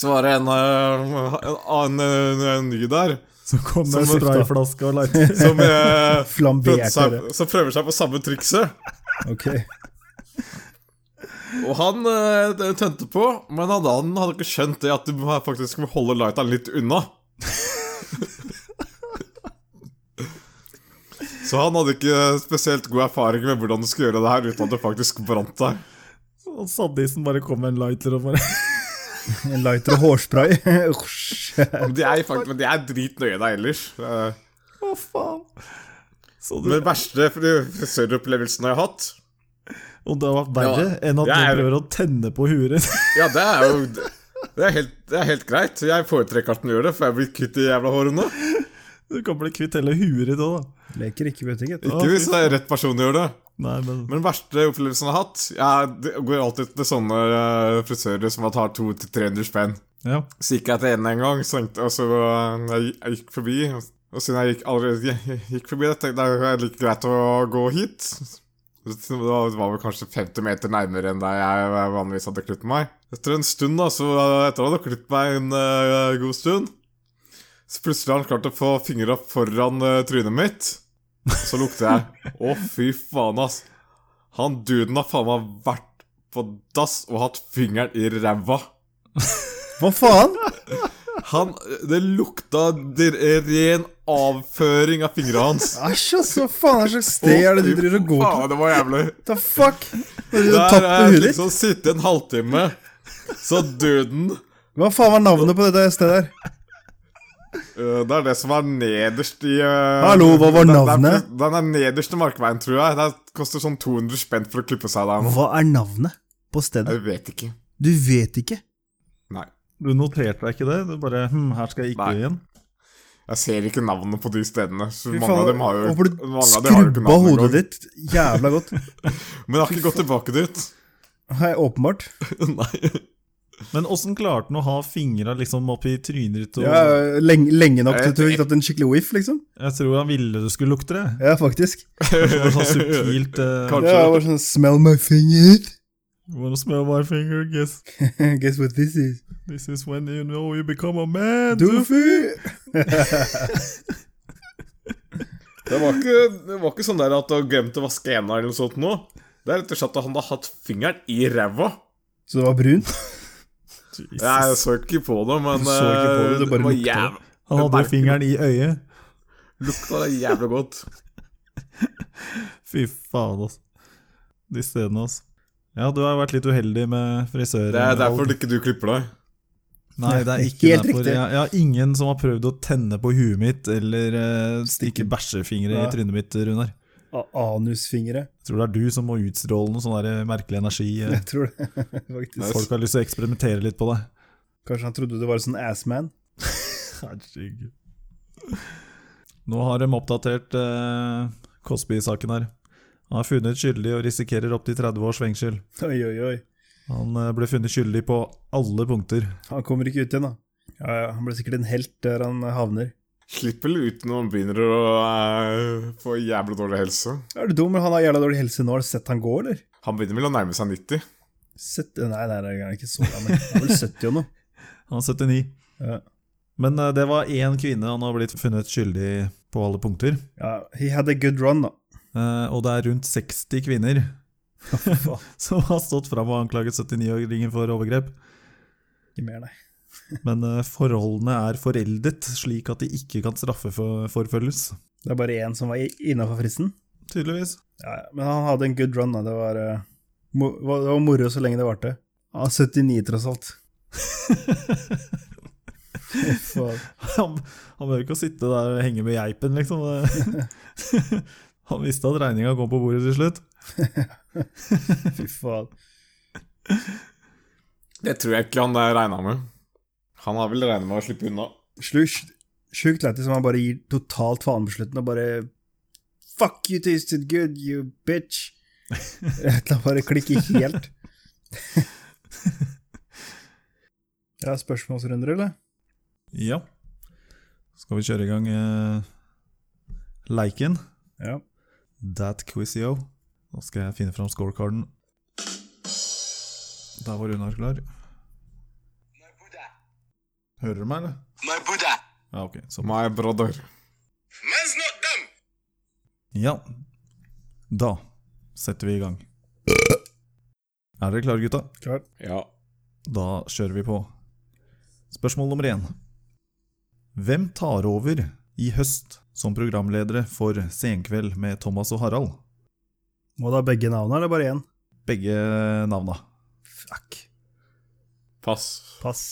Så var det en, eh, en, annen, eh, en ny der
Så kom det en
Som lufta.
sprayflaske og lighter. [laughs]
Som,
[laughs]
eh, prøvde
Flambert
seg,
øre.
som prøver seg på samme trikset
Ok.
Og han eh, tente på Men han, han hadde ikke skjønt det At du faktisk må holde lighteren litt unna [laughs] Så han hadde ikke spesielt god erfaring med hvordan du skulle gjøre det her Uten at det faktisk brant deg
Og sadisten bare kom med en lighter og bare [laughs]
En lighter og hårspray. [laughs] Usch.
Men de er, faktisk, men de er dritnøye deg ellers Eh,
Hva faen? Så du,
Men verste frisøropplevelsen jeg har hatt
og det var verre enn at
Ja,
du
jeg-
prøver å tenne på huet ditt. [laughs]
Ja, det er jo Det er helt, det er helt greit. Jeg foretrekker at den gjør det, for jeg blir kvitt de jævla hårene.
Du kan bli kvitt hele huet ditt òg, da.
Leker ikke butikk, vet du.
Ikke hvis det er rett person som gjør det.
Nei, men
Men den verste opplevelsen jeg har hatt Jeg det går alltid til sånne eh, frisører som tar 200-300 spenn.
Ja.
Så gikk jeg til en en gang, så tenkte, og så eh, jeg, jeg gikk forbi. og- Og siden jeg gikk, allerede gikk forbi, det, tenkte jeg det er like greit å gå hit. Det var vel kanskje 50 meter nærmere enn der jeg vanligvis hadde klippet meg. Etter en stund, da, så eh, etter at jeg hadde klippet meg en eh, god stund, så plutselig har han klart å få fingra foran eh, trynet mitt. Så lukter jeg. Å, fy faen, ass. Han duden har faen meg vært på dass og hatt fingeren i ræva.
Hva faen?
Han, det lukta dir- ren avføring av fingra hans.
Æsj, altså. Faen, hva slags sted er det du driver og går til?
Faen, det var jævlig.
The fuck? Har du
Der
tatt på
er
huet ditt?
liksom sitte en halvtime, så døden
Hva faen var navnet på dette stedet her?
Øh, Det er det som er nederst i øh,
Hallo, hva var
den- den-
navnet?
Den er nederst i Markveien, tror jeg. Det koster sånn 200 spent for å klippe seg der nå.
Hva er navnet på stedet?
Jeg vet ikke.
Du vet ikke.
Nei.
Du noterte deg ikke det? Du bare hm, 'Her skal jeg ikke
Nei.
igjen'.
Jeg ser ikke navnet på de stedene. Så
Fy
mange av
faen,
dem har jo
Håper du
mange av dem har jo ikke
skrubba
navn
hodet
engang.
ditt jævla
[laughs]
godt.
Men jeg har ikke gått tilbake dit. [laughs]
Hei, åpenbart.
Nei.
Men åssen klarte han å ha fingra liksom oppi trynet ditt? Og...
Ja, lenge, lenge nok til
Jeg-
at du fikk tatt en skikkelig whiff, liksom.
Jeg tror han ville du skulle lukte det.
Ja, faktisk.
Det var sånn subtilt
[laughs]
eh,
Kanskje.
Ja, det var sånn Smell my finger. [laughs]
Wanna smell my finger, guess
Guess what this is.
this is when you know you become a man
Doofy.
Det var ikke, det var ikke sånn der at du har glemt å vaske hendene eller noe sånt nå. Det er rett og slett at han har hatt fingeren i ræva.
Så det var brunt?
Jesus.
Jeg så ikke på det, men
Du så ikke på det, det
eh,
bare
var
lukta.
jæv-
Han hadde
merkelig.
fingeren i øyet.
Lukta det jævlig
[laughs]
godt.
Fy faen, altså. De stedene, altså. Ja, du har vært litt uheldig med frisører.
Det er derfor ikke du klipper deg.
Nei, det er ikke
Helt
derfor.
riktig.
Jeg, jeg har ingen som har prøvd å tenne på huet mitt eller eh, stikke bæsjefingre
Ja.
i trynet mitt, Runar.
A- Anusfingre.
Jeg tror det er du som må utstråle noe sånn der merkelig energi. eh.
Jeg tror det, [laughs] faktisk.
Folk har lyst til å eksperimentere litt på deg.
Kanskje han trodde det var sånn assman?
Herregud. Nå har de oppdatert eh, Cosby-saken her. Han er funnet skyldig og risikerer opptil 30 års fengsel.
Oi, oi, oi.
Han eh, ble funnet skyldig på alle punkter.
Han kommer ikke ut igjen, da. Ja, ja, Han blir sikkert en helt der han havner.
Slipper vel ut når han begynner å eh, få jævla dårlig helse.
Er du dum? Han har jævla dårlig helse nå. Har du sett han gå, eller?
Han begynner vel å nærme seg 90.
Sett... Nei, nei, nei, han er ikke så gammel. Han er vel 70 og noe.
Han er 79.
Ja.
Men eh, det var én kvinne han har blitt funnet skyldig på alle punkter.
Ja, he had a good run, da.
Eh, og det er rundt 60 kvinner [laughs] som har stått fram og anklaget 79-åringen for overgrep.
Ikke mer, nei.
Men eh, forholdene er foreldet, slik at de ikke kan straffeforfølges.
Det er bare én som var innafor fristen.
Tydeligvis. [laughs]
Ja, ja. Men han hadde en good run, da. Det var, eh, mo det var moro så lenge det varte. Han er 79, tross alt. Faen.
Han, han behøver ikke å sitte der og henge med geipen, liksom. [laughs] Det- Han visste at regninga kom på bordet til slutt.
Fy faen.
Det tror jeg ikke han regna med. Han har vel regna med å slippe unna.
Slush. Sjukt lættis som han bare gir totalt faen på slutten og bare Fuck you tasted good, you bitch. La bare klikke helt. Ja, spørsmålsrunder, eller?
Ja. Skal vi kjøre i gang eh, leiken?
Ja.
That quizio. Nå skal jeg finne fram scorecarden. Der var Runar klar. Hører du meg, eller? Ja, ok. Så
My brother.
Ja. Da setter vi i gang. Er dere klare, gutta?
Klart.
Ja.
Da kjører vi på. Spørsmål nummer én. Hvem tar over i høst som programledere for Senkveld med Thomas og Harald?
Må da begge navnene, eller bare én?
Begge navna.
Fuck.
Pass.
Pass.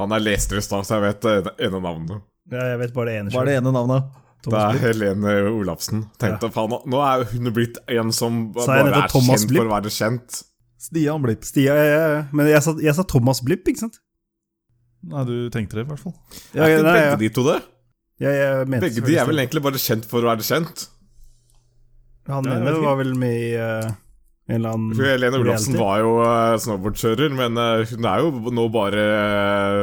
Han er lester i stad, så jeg vet eh, det ene navnet.
Ja, jeg vet bare det ene
Hva er det ene navna?
Det
Thomas
er
Blipp.
Helene Olafsen. Tenkte faen, nå er hun blitt en som
Sa jeg
bare
nettopp
er
Thomas
kjent
Blipp?
for å være kjent.
Stian Blipp.
Stia, ja, ja, ja. Men jeg sa, jeg sa Thomas Blipp, ikke sant?
Nei, du tenkte det, i hvert fall.
Ja,
er
ja,
ikke
nei,
begge
ja.
de to det?
Ja, jeg mente
Begge de er vel
selvfølgelig
egentlig bare kjent for å være kjent.
Stia. Han
Ja, jeg
ene
vet ikke.
var vel med i eh, en eller annen
For Helene Olafsen
reality.
var jo eh, snowboardkjører, men eh, hun er jo nå bare eh,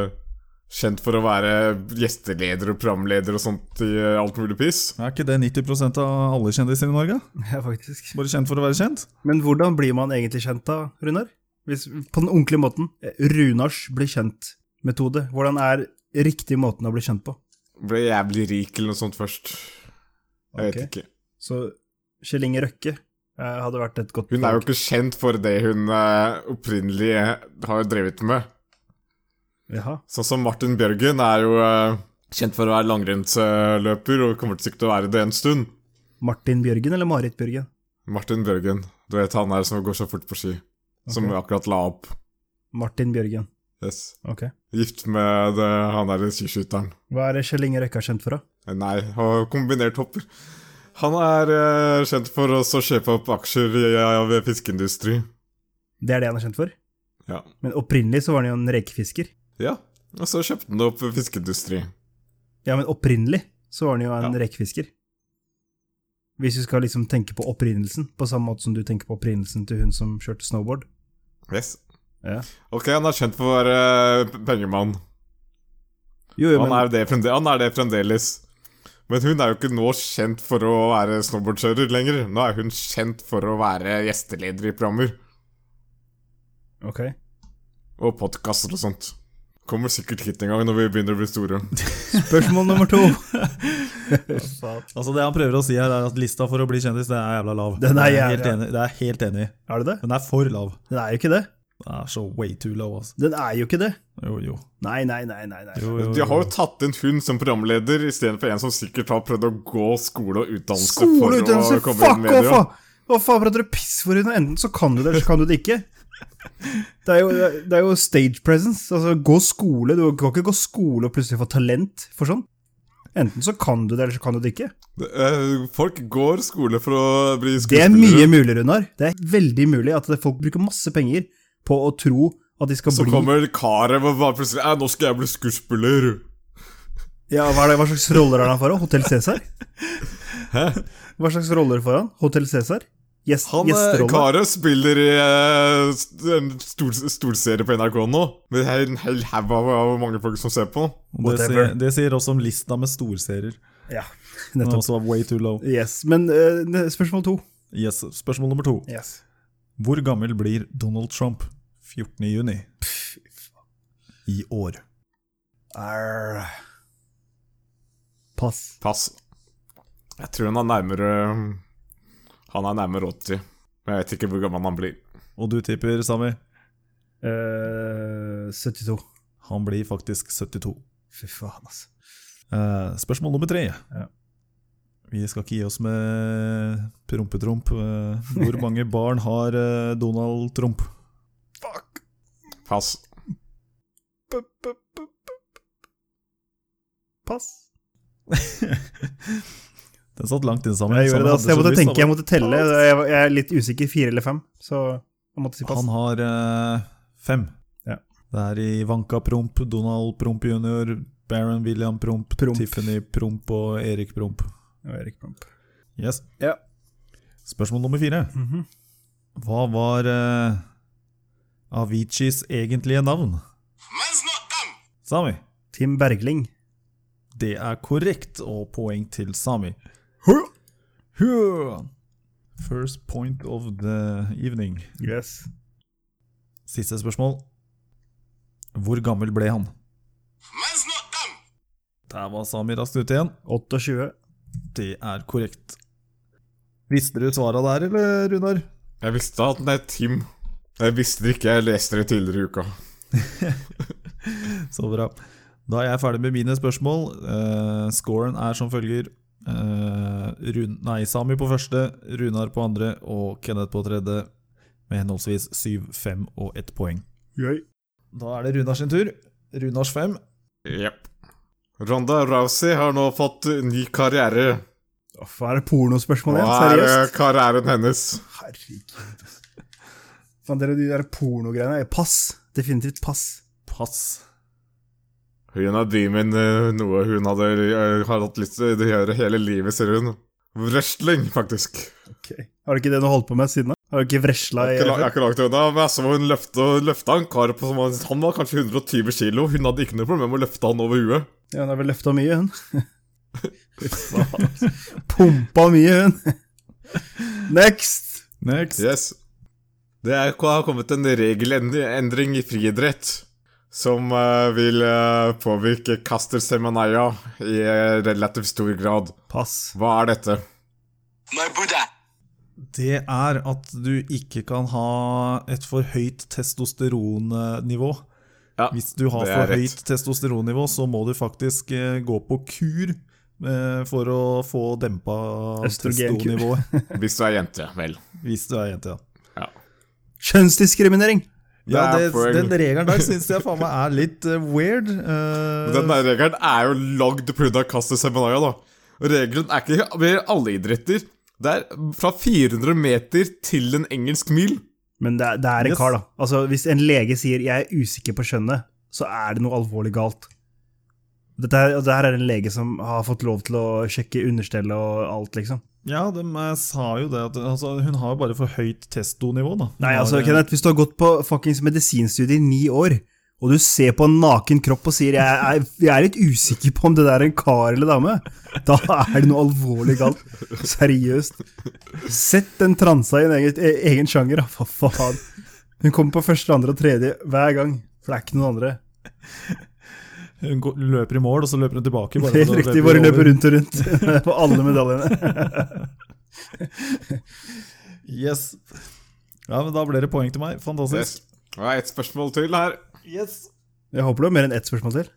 kjent for å være gjesteleder og programleder og sånt i eh, alt mulig piss.
Er ikke det 90 av alle kjendiser i Norge?
[laughs] Ja, faktisk.
Bare kjent for å være kjent?
Men hvordan blir man egentlig kjent da, Runar? Hvis, på den ordentlige måten. Eh, Runars bli kjent-metode. Hvordan er riktig måten å bli kjent på?
Ble jævlig rik eller noe sånt først. Jeg vet
Ok.
ikke.
Så Kjell Inge Røkke eh, hadde vært et godt
Hun er jo ikke kjent for det hun eh, opprinnelig har drevet med.
Jaha.
Sånn som Martin Bjørgen er jo eh, kjent for å være langrennsløper og kommer sikkert til å være det en stund.
Martin Bjørgen eller Marit Bjørgen?
Martin Bjørgen, du vet han er som går så fort på ski. Som
Ok.
akkurat la opp.
Martin Bjørgen.
Yes.
Ok.
Gift med det, han der skiskyteren.
Hva er det Kjell Inge Røkke er kjent for, da?
Nei, og kombinert hopper. Han er eh, kjent for også å kjøpe opp aksjer i av fiskeindustri.
Det er det han er kjent for?
Ja.
Men opprinnelig så var han jo en rekefisker.
ja. Og så kjøpte han opp fiskeindustri.
Ja, men opprinnelig så var han jo en rekefisker. Hvis du skal liksom tenke på opprinnelsen, på samme måte som du tenker på opprinnelsen til hun som kjørte snowboard.
Yes.
Ja.
Ok, han er kjent for å være eh, pengemann.
Jo, jo,
Han
men,
er, det fremde- han er det fremdeles. Men hun er jo ikke nå kjent for å være snowboardkjører lenger. Nå er hun kjent for å være gjesteleder i programmer
Ok.
og podkaster og sånt. Kommer sikkert hit en gang når vi begynner å bli store.
Spørsmål nummer
[laughs]
to.
Altså Det han prøver å si her, er at lista for å bli kjendis, det er jævla lav.
Den er
Jeg helt
jævla-
enig. Det er jeg helt enig. i.
Er det det?
Den er for lav.
Den er jo ikke det.
Den er så way too low, altså.
Den er jo ikke det.
Jo, jo.
Nei, nei, nei, nei. nei.
jo, jo,
De har jo tatt inn hun som programleder istedenfor en som sikkert har prøvd å gå skole og utdannelse for
Skoleutdannelse,
å komme inn i
fuck off!
media.
da! Hva faen prater du piss for henne? Enten så kan du det, eller så kan du det ikke. Det er jo, det er jo stage presence. Altså, gå skole. Du kan ikke gå skole og plutselig få talent for sånn. Enten så kan du det, eller så kan du det ikke.
Eh, Folk går skole for å bli
Det er mye
skuespillere.
mulig, Runar. Det er veldig mulig at det- folk bruker masse penger på å tro at de skal
Så
bli
kommer karet og bare plutselig «Eh, 'Nå skal jeg bli skuespiller'.
Ja, hva, er det, hva slags roller er det han får? da? Hotell Cæsar? Hva slags roller får han? Hotell Cæsar? Gjest,
Han eh,
gjesterolle?
Karo spiller i eh, st- en stor, storserie på NRK nå. Med en hel haug av av hvor mange folk som ser på.
Og Det
Whatever.
sier, det sier også om lista med storserier.
Ja,
Den
nettopp.
også var way too low.
Yes, Men eh, ne- spørsmål to.
Yes, Spørsmål nummer to.
Yes.
Hvor gammel blir Donald Trump 14. juni i år?
Arr. Pass.
Pass. Jeg tror han er nærmere eh, Han er nærmere 80. Men jeg vet ikke hvor gammel han blir.
Og du tipper, Sami?
Eh, 72.
Han blir faktisk 72.
Fy faen, altså.
Eh, spørsmål nummer tre.
Ja.
Vi skal ikke gi oss med prompetromp. Eh, hvor mange barn har eh, Donald Trump?
Fuck.
Pass.
P- p- p- p- p- Pass.
Den satt langt inn sammen.
Jeg gjorde det, altså.
Sami
Jeg
hadde
måtte
så lyst,
tenke, jeg måtte telle. Jeg var- jeg er litt usikker. Fire eller fem, så jeg måtte si
han.
pass.
Han har eh, fem.
Ja.
Det er Ivanka Promp, Donald Promp jr., Baron William Promp,
Promp.
Tiffany Promp og Erik Promp.
Og Erik Pamp.
Yes.
Ja.
Spørsmål nummer fire.
Mhm.
Hva var eh, Aviciis egentlige navn? Sami.
Tim Bergling.
Det er korrekt, og poeng til Sami.
Huh.
Huh. First point of the evening.
Yes.
Siste spørsmål. Hvor gammel ble han? Der var Sami raskt ute igjen.
28.
Det er korrekt. Visste du svara der, eller, Runar?
Jeg visste at den het Tim. Jeg visste det ikke, jeg leste det tidligere i uka.
Så bra. Da er jeg ferdig med mine spørsmål. Eh, scoren er som følger. Eh, Run nei, Sami på første, Runar på andre og Kenneth på tredje. Med henholdsvis syv, fem og ett poeng.
Gøy.
Da er det Runar sin tur. Runars fem.
Jepp. Ronda Rousey har nå fått ny karriere.
Åh, Hva er det pornospørsmål igjen?
Hva er eh,
Seriøst?
karrieren hennes?
Herregud. altså. Faen, dere, de der pornogreiene er pass. Definitivt pass.
Pass.
Hun har drevet med eh, noe hun hadde, eh, har hatt lyst til å gjøre hele livet, ser hun. Wrestling, faktisk.
Ok. Har du ikke det du har holdt på med siden da? Har du ikke vresla i
Jeg har ikke la- jeg har ikke lagt det unna, men jeg så hun løfte, løfte en kar på som var- Han var kanskje 120 kilo. Hun hadde ikke noe problem med å løfte han over huet.
Ja, hun har vel løfta mye, hun.
[laughs]
Pumpa mye, hun. Next!
Next.
Yes. Det er, har kommet en regelendring i friidrett som eh, vil eh, påvirke Caster Semanaya i eh, relativt stor grad.
Pass.
Hva er dette?
Det er at du ikke kan ha et for høyt testosteronnivå.
Ja,
Hvis du har
det er
for
rett.
høyt testosteronnivå, så må du faktisk eh, gå på kur eh, for å få dempa
Østrogenkur.
testosteronnivået.
Hvis du er jente, vel.
Hvis du er
[laughs]
jente, ja.
Ja.
Kjønnsdiskriminering!
ja
Det er
det,
poeng.
den regelen der syns jeg faen meg er litt eh, weird. eh,
Den der regelen er jo lagd pga. Caster Semanaya, da. Og Regelen er ikke ved alle idretter. Det er fra 400 meter til en engelsk mil.
Men det er, det er en
Yes.
kar, da. Altså, Hvis en lege sier 'jeg er usikker på kjønnet', så er det noe alvorlig galt. Dette her, og det her er en lege som har fått lov til å sjekke understellet og alt, liksom.
ja, de eh, sa jo det. At, altså, hun har jo bare for høyt testonivå, da. Hun
Nei,
har,
altså,
eh,
Kenneth, hvis du har gått på fuckings medisinstudiet i ni år, og du ser på en naken kropp og sier jeg er, 'jeg er litt usikker på om det der er en kar eller dame', da er det noe alvorlig galt. Seriøst. Sett den transa i en egen, e- egen sjanger, da, for faen. Hun kommer på første, andre og tredje hver gang, for det er ikke noen andre.
Hun går, løper i mål, og så løper hun tilbake.
[laughs]
Bare,
Helt
for å
riktig,
løpe
bare
over.
løper rundt og rundt [laughs] på alle medaljene.
Yes. Ja, men da ble det poeng til meg. Fantastisk.
Yes. Det er ett spørsmål til her.
Jeg håper du har mer enn ett spørsmål til.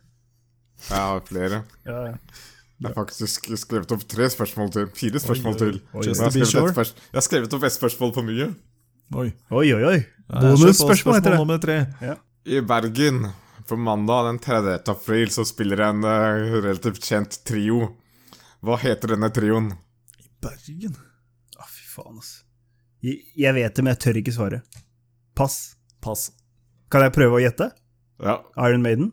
Jeg har flere. Jeg har faktisk skrevet opp tre spørsmål til. Fire spørsmål til.
oi.
Jeg
Just
har
to be sure.
skrevet, et spørs- jeg har skrevet opp ett spørsmål for mye.
Oi.
Oi, oi,
Ja,
oi.
jeg kjører på
Bonusspørsmål heter det.
Spørsmål nummer tre.
I Bergen på mandag den 30. april så spiller en eh, relativt kjent trio. Hva heter denne trioen?
Bergen?
Å, fy faen, altså. Jeg jeg vet det, men jeg tør ikke svare. Pass.
Pass.
Kan jeg prøve å gjette?
Ja,
Iron Maiden?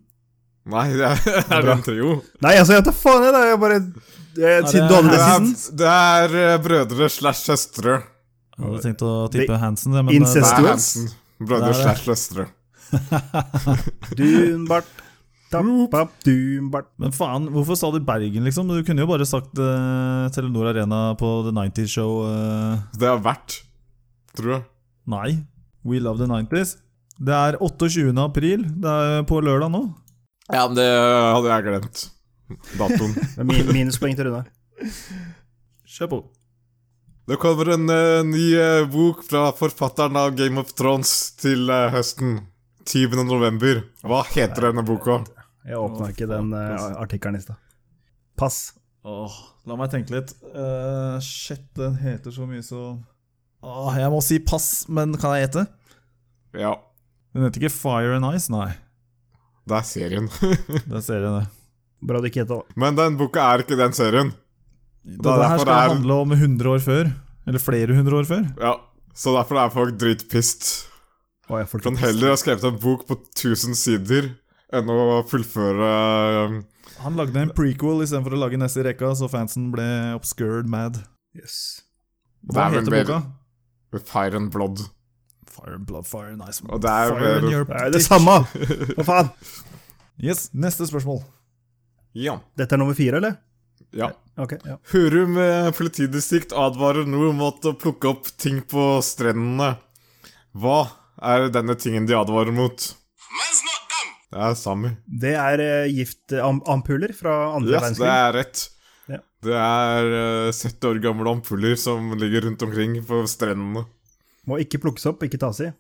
Nei, [laughs] det er, det er en trio.
Nei, altså, jeg tar faen i det. Jeg bare jeg, Siden du hadde
Det
det
er,
sist.
det er eh, brødre slash søstre.
Jeg hadde tenkt å tippe Hansen, men eh,
Det
Incest.
er
Stuart?
Hansen. Brødre
Det er det.
slash søstre.
Dunbart. Tappap, dunbart.
Men faen, hvorfor sa du Bergen, liksom? Du kunne jo bare sagt eh, Telenor Arena på The 90's Show. eh,
Det er verdt, tror jeg.
nei. We love the 90's. Det er 28. april. Det er på lørdag nå.
Ja, men det hadde jeg glemt. Datoen.
[laughs]
Det er min- Minuspoeng til Runar.
Kjør på.
Det kommer en eh, ny eh, bok fra forfatteren av Game of Thrones til eh, høsten. 10. november. Hva heter denne boka?
Jeg åpna ikke den uh, artikkelen i stad. Pass.
Åh, la meg tenke litt. Eh, shit, den heter så mye så Åh, Jeg må si pass, men kan jeg gjette?
Ja,
Den heter ikke Fire and Ice, nei.
det er serien. [laughs]
Det ser jeg det.
Bra du ikke heter det.
Men den boka er ikke den serien.
[laughs] Det,
er
her
derfor
skal
det er-
handle om 100 år før. Eller flere hundre år før.
Ja, Så derfor er folk dritpissed.
Å, jeg får
Kan heller ha skrevet en bok på 1000 sider enn å fullføre eh,
Han lagde en prequel istedenfor å lage neste i rekka, så fansen ble obscured mad.
Yes.
Hva
Det er vel
heter
mer-
boka?
With Fire and Blood.
Fire and blood, fire and ice.
Og det er
fire
mer-
in your
Det er jo det
dick.
samme! Hva faen?
Yes, neste spørsmål.
Ja.
Dette er nummer fire, eller?
ja.
Ok, ja.
Hurum eh, politidistrikt advarer nå mot å plukke opp ting på strendene. Hva er denne tingen de advarer mot? Det er Sami.
Det er eh, giftampuller fra
Yes,
andre
det
verdenskrig.
er rett.
Ja.
Det er eh, 70 år gamle ampuller som ligger rundt omkring på strendene.
Må ikke plukkes opp, ikke tas i.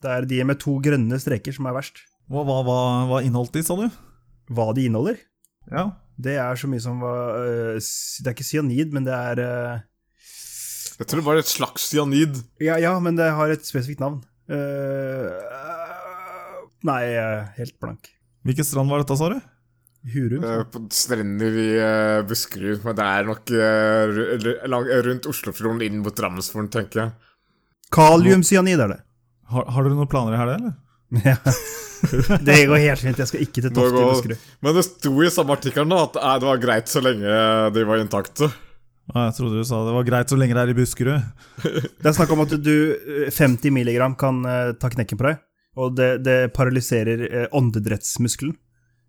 Det er de med to grønne streker som er verst.
Hva, hva, hva, hva inneholdt de, sa du?
Hva de inneholder?
Ja.
Det er så mye som var eh, s- Det er ikke cyanid, men det er eh,
Jeg tror det var et slags cyanid.
Ja, ja, men det har et spesifikt navn. Eh, nei, jeg er helt blank.
Hvilken strand var dette, sa du?
Hurum.
eh, På strender i eh, Buskerud, men det er nok eh, ru- eller lang- rundt Oslofjorden inn mot Drammensfjorden, tenker jeg.
Kaliumcyanid er det.
Har, har dere noen planer i helga, eller?
Ja. det går helt fint. Jeg skal ikke til Toft i
går-
Buskerud.
Men det sto i samme artikkelen da, at eh, det var greit så lenge de var intakte.
Ah, jeg trodde du sa det var greit så lenge det er i Buskerud.
Det er snakk om at du eh, 50 milligram kan eh, ta knekken på deg, og det, det paralyserer eh, åndedrettsmuskelen.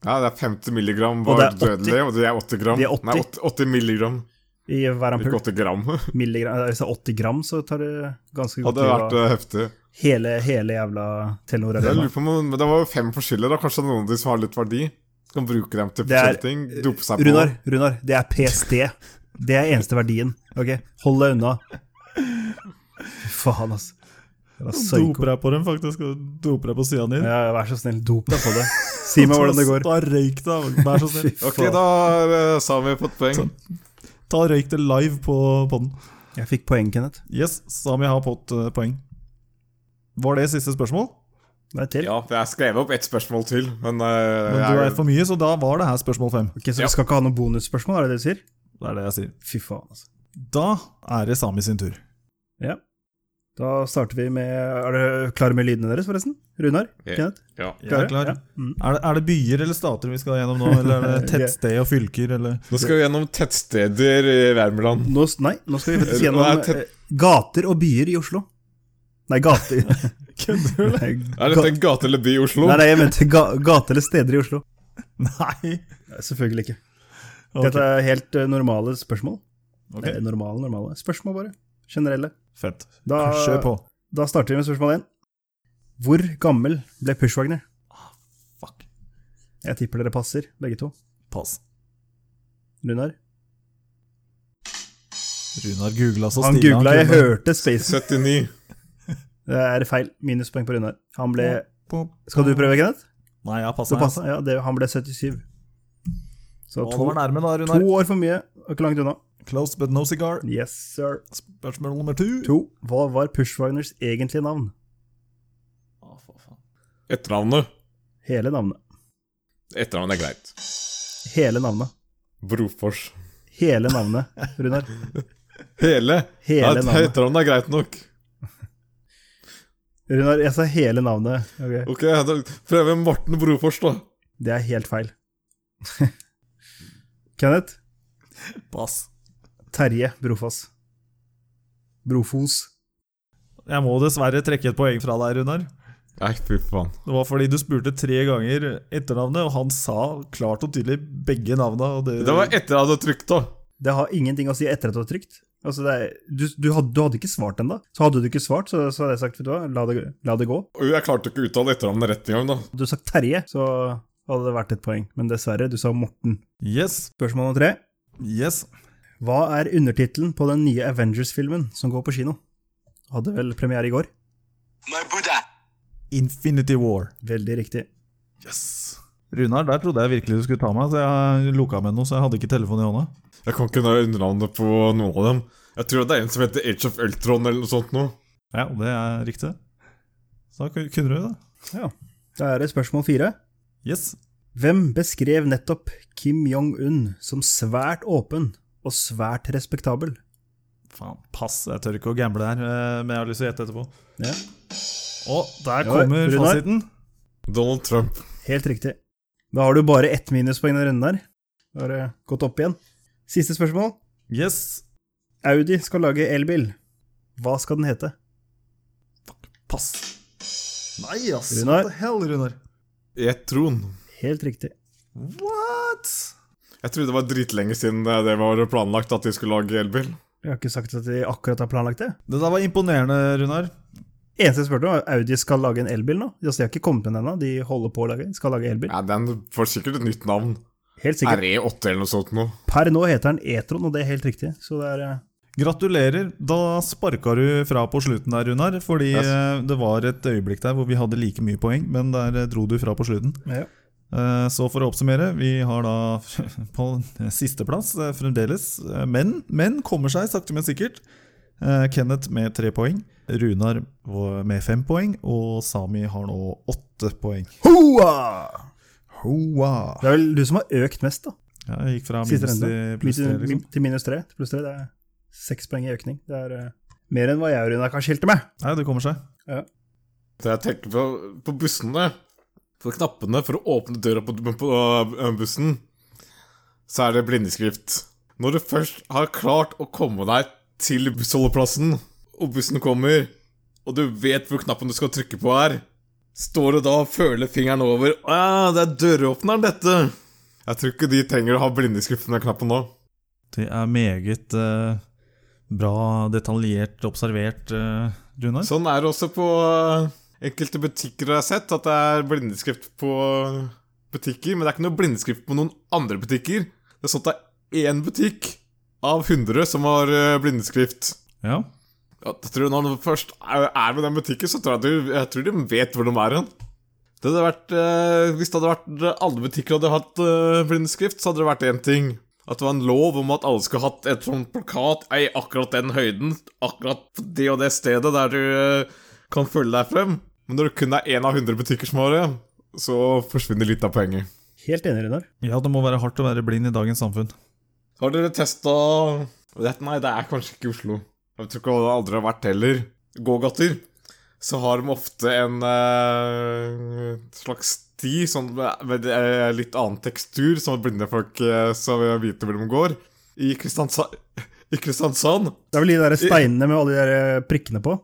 Ja, det er 50 milligram
Og
var
det er 80.
dødelig, og de er 80 gram.
De er 80.
Nei, 80, 80 milligram,
I hver
ikke
ampull.
80
[laughs]
gram.
Milligram, hvis det er 80 gram, så tar det ganske godt
Hadde
tid å-
vært eh, heftig.
hele, hele jævla Telenor
Jeg
Arena.
lurer på om, men det var jo fem forskjellige, da. Kanskje noen av de som har litt verdi, kan bruke dem til
Det er-
forskjellige ting. Dope seg på.
Runar, Runar, det er PST. Det er eneste verdien. Ok, Hold deg unna. Fy Faen, altså. Det er psyko.
Doper deg på dem, faktisk. og Doper deg på cyanid.
Ja, vær så snill, dop deg på det. Si meg hvordan det går.
Ta røyk deg, vær så
[laughs]
snill.
Ok, da har eh, Sami fått poeng.
Ta røyk det live på podden.
Jeg fikk poeng, Kenneth.
Yes, Sami har fått eh, poeng. Var det siste spørsmål?
Det er til.
Ja, for jeg skrev opp ett spørsmål til, men, eh,
Men du
jeg,
veit for mye, så da var det her spørsmål fem.
Ok, Så vi skal ikke ha noe bonusspørsmål, er det det du sier?
Det er det jeg sier.
Fy faen, altså.
Da er det Sami sin tur.
Ja. Da starter vi med Er dere klare med lydene deres, forresten? Runar?
Ja.
Kenneth?
ja.
Jeg er klar.
Ja. Mm.
Er det, er det byer eller stater vi skal gjennom nå,
[laughs]
eller er det tettsted og fylker, eller [laughs]
Nå skal vi gjennom tettsteder i Värmland.
Nå, s- nei, nå skal vi faktisk
Nå er
gjennom
tett-
eh, gater og byer i Oslo. Nei, gater
Kødder
Nei,
Er dette en gate eller by i Oslo?
Nei, nei, jeg mente ga gate eller steder i Oslo.
Nei!
Nei, Selvfølgelig ikke.
Ok.
Dette er helt eh, normale spørsmål.
Ok.
Nei, normale, normale. Spørsmål, bare. Generelle.
Fett.
Da,
Kjør på.
da starter vi med spørsmål én. Hvor gammel ble Pushwagner?
Fuck.
Jeg tipper dere passer, begge to.
Pass.
Runar?
Runar googla så
Han
stille
googla, jeg
kunne.
hørte Space.
79.
Det er feil. Minuspoeng på Runar. Han ble
Pop.
Skal du prøve, Kenneth?
Nei, jeg har
Så
passa.
passa. Ja, det, han ble 77.
altså.
Så
Å, det
to,
var nærme, da,
to
Runar.
år for mye. og Ikke langt unna.
Close but no cigar.
Yes, sir.
Spørsmål nummer to.
To. Hva var Pushwagners egentlige navn?
Å, for faen.
Etternavnet.
Hele navnet.
Etternavnet er greit.
Hele navnet.
Brofors.
Hele navnet, Runar.
Hele. Ja,
Hele navnet.
etternavnet er greit nok.
Runar, jeg sa hele navnet. Ok.
Ok, da prøver vi Morten Brofors, da.
Det er helt feil. [laughs] Kenneth?
Pass.
Terje Brofoss. Brofos.
Jeg må dessverre trekke et poeng fra deg, Runar.
Nei, fy faen.
Det var fordi du spurte tre ganger etternavnet, og han sa klart og tydelig begge navna. Og det,
Det var etter at jeg hadde trykt, da.
Det har ingenting å si etter at du har trykt. Altså det er, du, du, hadde, du hadde ikke svart ennå. Så hadde du ikke svart, så, så hadde jeg sagt vet du hva, la det, la det gå.
Og jeg klarte ikke å uttale etternavnet rett engang, da.
Hadde du sagt Terje, så hadde det vært et poeng. Men dessverre, du sa Morten.
Yes,
Spørsmål nummer tre.
yes.
Hva er undertittelen på den nye Avengers-filmen som går på kino? Hadde vel premiere i går?
Infinity War.
Veldig riktig.
Yes. Runar, der trodde jeg virkelig du skulle ta meg, så jeg loka med noe, så jeg hadde ikke telefonen i hånda.
Jeg kan ikke noe undernavnet på noen av dem. Jeg tror det er en som heter Age of Ultron eller noe sånt noe.
Ja, det er riktig. Så da kun- kunne du det.
Ja. Da er det spørsmål fire.
Yes.
Hvem beskrev nettopp Kim Jong-un som svært åpen og svært respektabel?
Faen, pass. Jeg tør ikke å gamble her, eh, men jeg har lyst til å gjette etterpå.
Ja.
Og der
Ja,
kommer
Runar.
fasiten.
Donald Trump.
Helt riktig. Da har du bare ett minuspoeng denne runden der. Da har det gått opp igjen. Siste spørsmål.
Yes.
Audi skal lage elbil. Hva skal den hete?
Pass. Nei, ass.
Runar.
What the hell, Runar?
Jeg tror
Helt riktig.
What?
Jeg trodde det var dritlenge siden det var planlagt at de skulle lage elbil.
Jeg har ikke sagt at de akkurat har planlagt det.
Det der var imponerende, Runar.
Eneste jeg spurte om, var Audi skal lage en elbil nå. Altså, de har ikke kommet med den ennå. De holder på å lage, skal lage elbil.
Ja, den får sikkert et nytt navn.
Helt sikkert.
RE8 eller noe sånt noe.
Per nå heter den E-tron, og det er helt riktig. Så det er eh,
Gratulerer. Da sparka du fra på slutten der, Runar. Fordi
Yes.
eh, det var et øyeblikk der hvor vi hadde like mye poeng, men der eh, dro du fra på slutten.
Ja.
Eh, Så for å oppsummere, vi har da [laughs] på sisteplass eh, fremdeles, eh, men, men kommer seg sakte, men sikkert. Eh, Kenneth med tre poeng, Runar vår- med fem poeng, og Sami har nå åtte poeng.
Hoa!
Hoa!
Det er vel du som har økt mest, da.
Ja, jeg gikk fra
Siste
minus til
runde.
pluss tre,
Min-
liksom.
Til minus tre. Til pluss tre. Det er seks poeng i økning. Det er eh, mer enn hva jeg og Runar kan skilte med.
Nei, det kommer seg.
Det jeg tenker på, på bussene På knappene for å åpne døra på, på øh, bussen, så er det blindeskrift. Når du først har klart å komme deg til bussholdeplassen, og bussen kommer, og du vet hvor knappen du skal trykke på er, står du da og føler fingeren over Å ja, det er døråpneren, dette! Jeg tror ikke de trenger å ha blindeskrift på den knappen nå.
Det er meget eh, bra detaljert observert, eh, Runar.
Sånn er det også på øh, enkelte butikker jeg har sett, at det er blindeskrift på øh, butikker. Men det er ikke noe blindeskrift på noen andre butikker. Det er sånn at det er én butikk av 100 som har øh, blindeskrift.
Ja.
Ja, jeg tror Når du først er er ved den butikken, så tror jeg, du, jeg tror de vet hvor de er hen. Det hadde vært, øh, hvis det hadde vært alle butikker hadde hatt øh, blindeskrift, så hadde det vært én ting. At det var en lov om at alle skulle hatt et sånt plakat i akkurat den høyden, akkurat på det og det stedet der du øh, kan følge deg frem. Men når det kun er én av 100 butikker som har det, så forsvinner litt av poenget.
Helt enig, Runar.
ja, det må være hardt å være blind i dagens samfunn.
Har dere testa Nei, det er kanskje ikke i Oslo. Jeg tror ikke det aldri har vært heller. Gågater. Så har de ofte en eh, slags sti sånn, med eh, litt annen tekstur, som blinde folk eh, så vil vite hvor de går. I Kristiansa- I Kristiansand
Det er vel de
Eh.
der steinene med alle de der eh, prikkene på.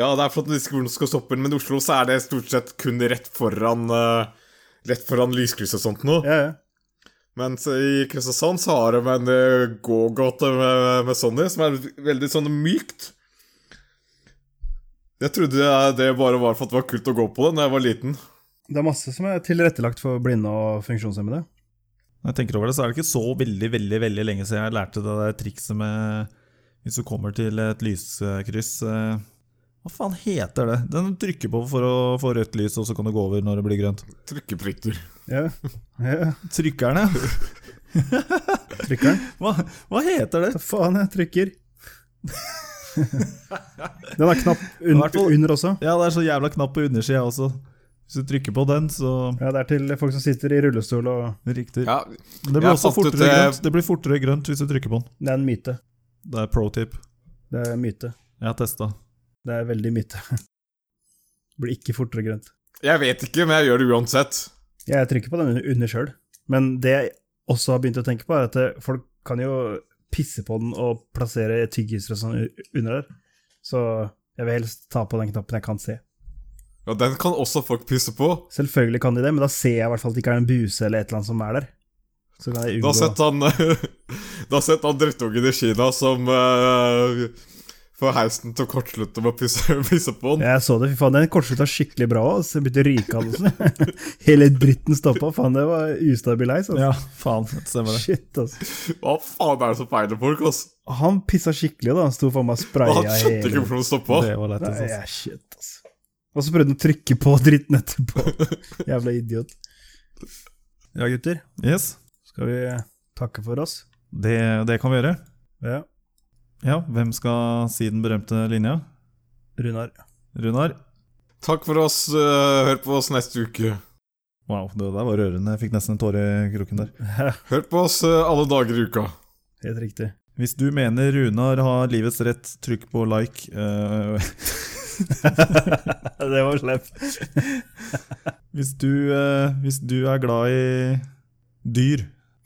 Ja, det er for at de ikke hvor de skal stoppe, men i Oslo så er det stort sett kun rett foran eh, Rett foran lyskrysset og sånt noe.
Ja, ja.
Mens i Kristiansand så har de en eh, gågate med, med Sonny, som er veldig sånn mykt. Jeg trodde eh, det bare var for at det var kult å gå på det da jeg var liten.
Det er masse som er tilrettelagt for blinde og funksjonshemmede.
Når jeg tenker over det, så er det ikke så veldig veldig, veldig lenge siden jeg lærte det der trikset med Hvis du kommer til et lyskryss eh, Hva faen heter det? Den du trykker på for å få rødt lys, og så kan du gå over når det blir grønt.
Trykkeprikker.
Ja. ja.
Trykkerne?
Trykkeren.
[laughs] Hva, hva heter det?
Hva faen, jeg trykker. [laughs] Den er knapp un
hvert fall-
under også.
Ja, det er så jævla knapp på undersida også. Hvis du trykker på den, så
Ja, Det er til folk som sitter i rullestol og
Riktig.
Ja,
Men det
jeg
blir også
fant ut eh,
fortere
det-
grønt. Det blir fortere grønt hvis du trykker på den.
Det er en myte.
Det er pro tip.
Det er en myte.
Jeg har testa.
Det er veldig myte. [laughs] Blir ikke fortere grønt.
jeg vet ikke, men jeg gjør det uansett.
Jeg trykker på den under- under sjøl, Men det jeg også har begynt å tenke på, er at eh, folk kan jo pisse på den og plassere tyggiser og sånn u- under der. Så jeg vil helst ta på den knappen jeg kan se.
Ja, den kan også folk pisse på.
Selvfølgelig kan de det, men da ser jeg i hvert fall at det ikke er en buse eller et eller annet som er der. Så kan jeg
Du
unngå
har sett han [laughs] Du har sett han drittungen i Kina som eh, får heisen til å kortslutte med å pisse, [laughs] pisse på den.
Jeg så det, fy faen, den kortslutta skikkelig bra òg. Jeg begynte å ryke av det. sånn. [laughs] Hele dritten stoppa. Faen, det var ustabil heis. Altså.
Ja, faen, [laughs] det stemmer det.
Shit, altså.
Hva faen er det som feiler folk, ass?
Han pissa skikkelig, da. Han sto faen meg og spraya
Han skjønte ikke hvorfor den stoppa.
Det var lett,
Nei,
altså.
ja, shit, altså. Og så prøvde han å trykke på dritten etterpå. [laughs] Jævla idiot. Ja, gutter.
Yes,
Skal vi takke for oss?
det, det kan vi gjøre.
Ja.
Ja, hvem skal si den berømte linja?
Runar.
Runar?
Takk for oss. eh, hør på oss neste uke.
Wow, det der var rørende. Jeg fikk nesten en tåre i kroken der.
Hør på oss eh, alle dager i uka.
Helt [laughs] riktig.
Hvis du mener Runar har livets rett, trykk på like. eh, [laughs]
det var slemt.
hvis, du, eh, hvis du er glad i dyr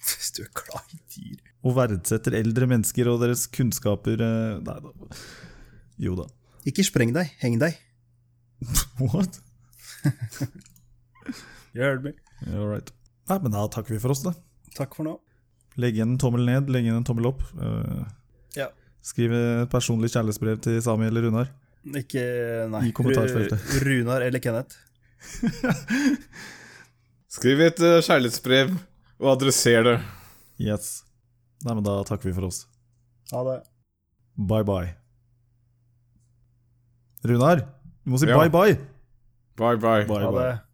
Hvis du er glad i dyr
og verdsetter eldre mennesker og deres kunnskaper eh, Nei da. Jo da.
Ikke spreng deg, heng deg.
What?
You heard me.
All right. Nei, men da takker vi for oss, da.
Takk for nå.
Legg igjen en tommel ned, legg igjen en tommel opp. eh,
Ja.
Skriv et personlig kjærlighetsbrev til Sami eller Runar.
Ikke Nei.
I kommentarfeltet.
Ru- Runar eller Kenneth.
Skriv et eh, kjærlighetsbrev og adresser det.
Yes. Nei, men da takker vi for oss.
Ha det.
Bye bye. Runar, du må si
Ja.
bye bye.
Bye, bye.
Bye
Ha
bye.
det.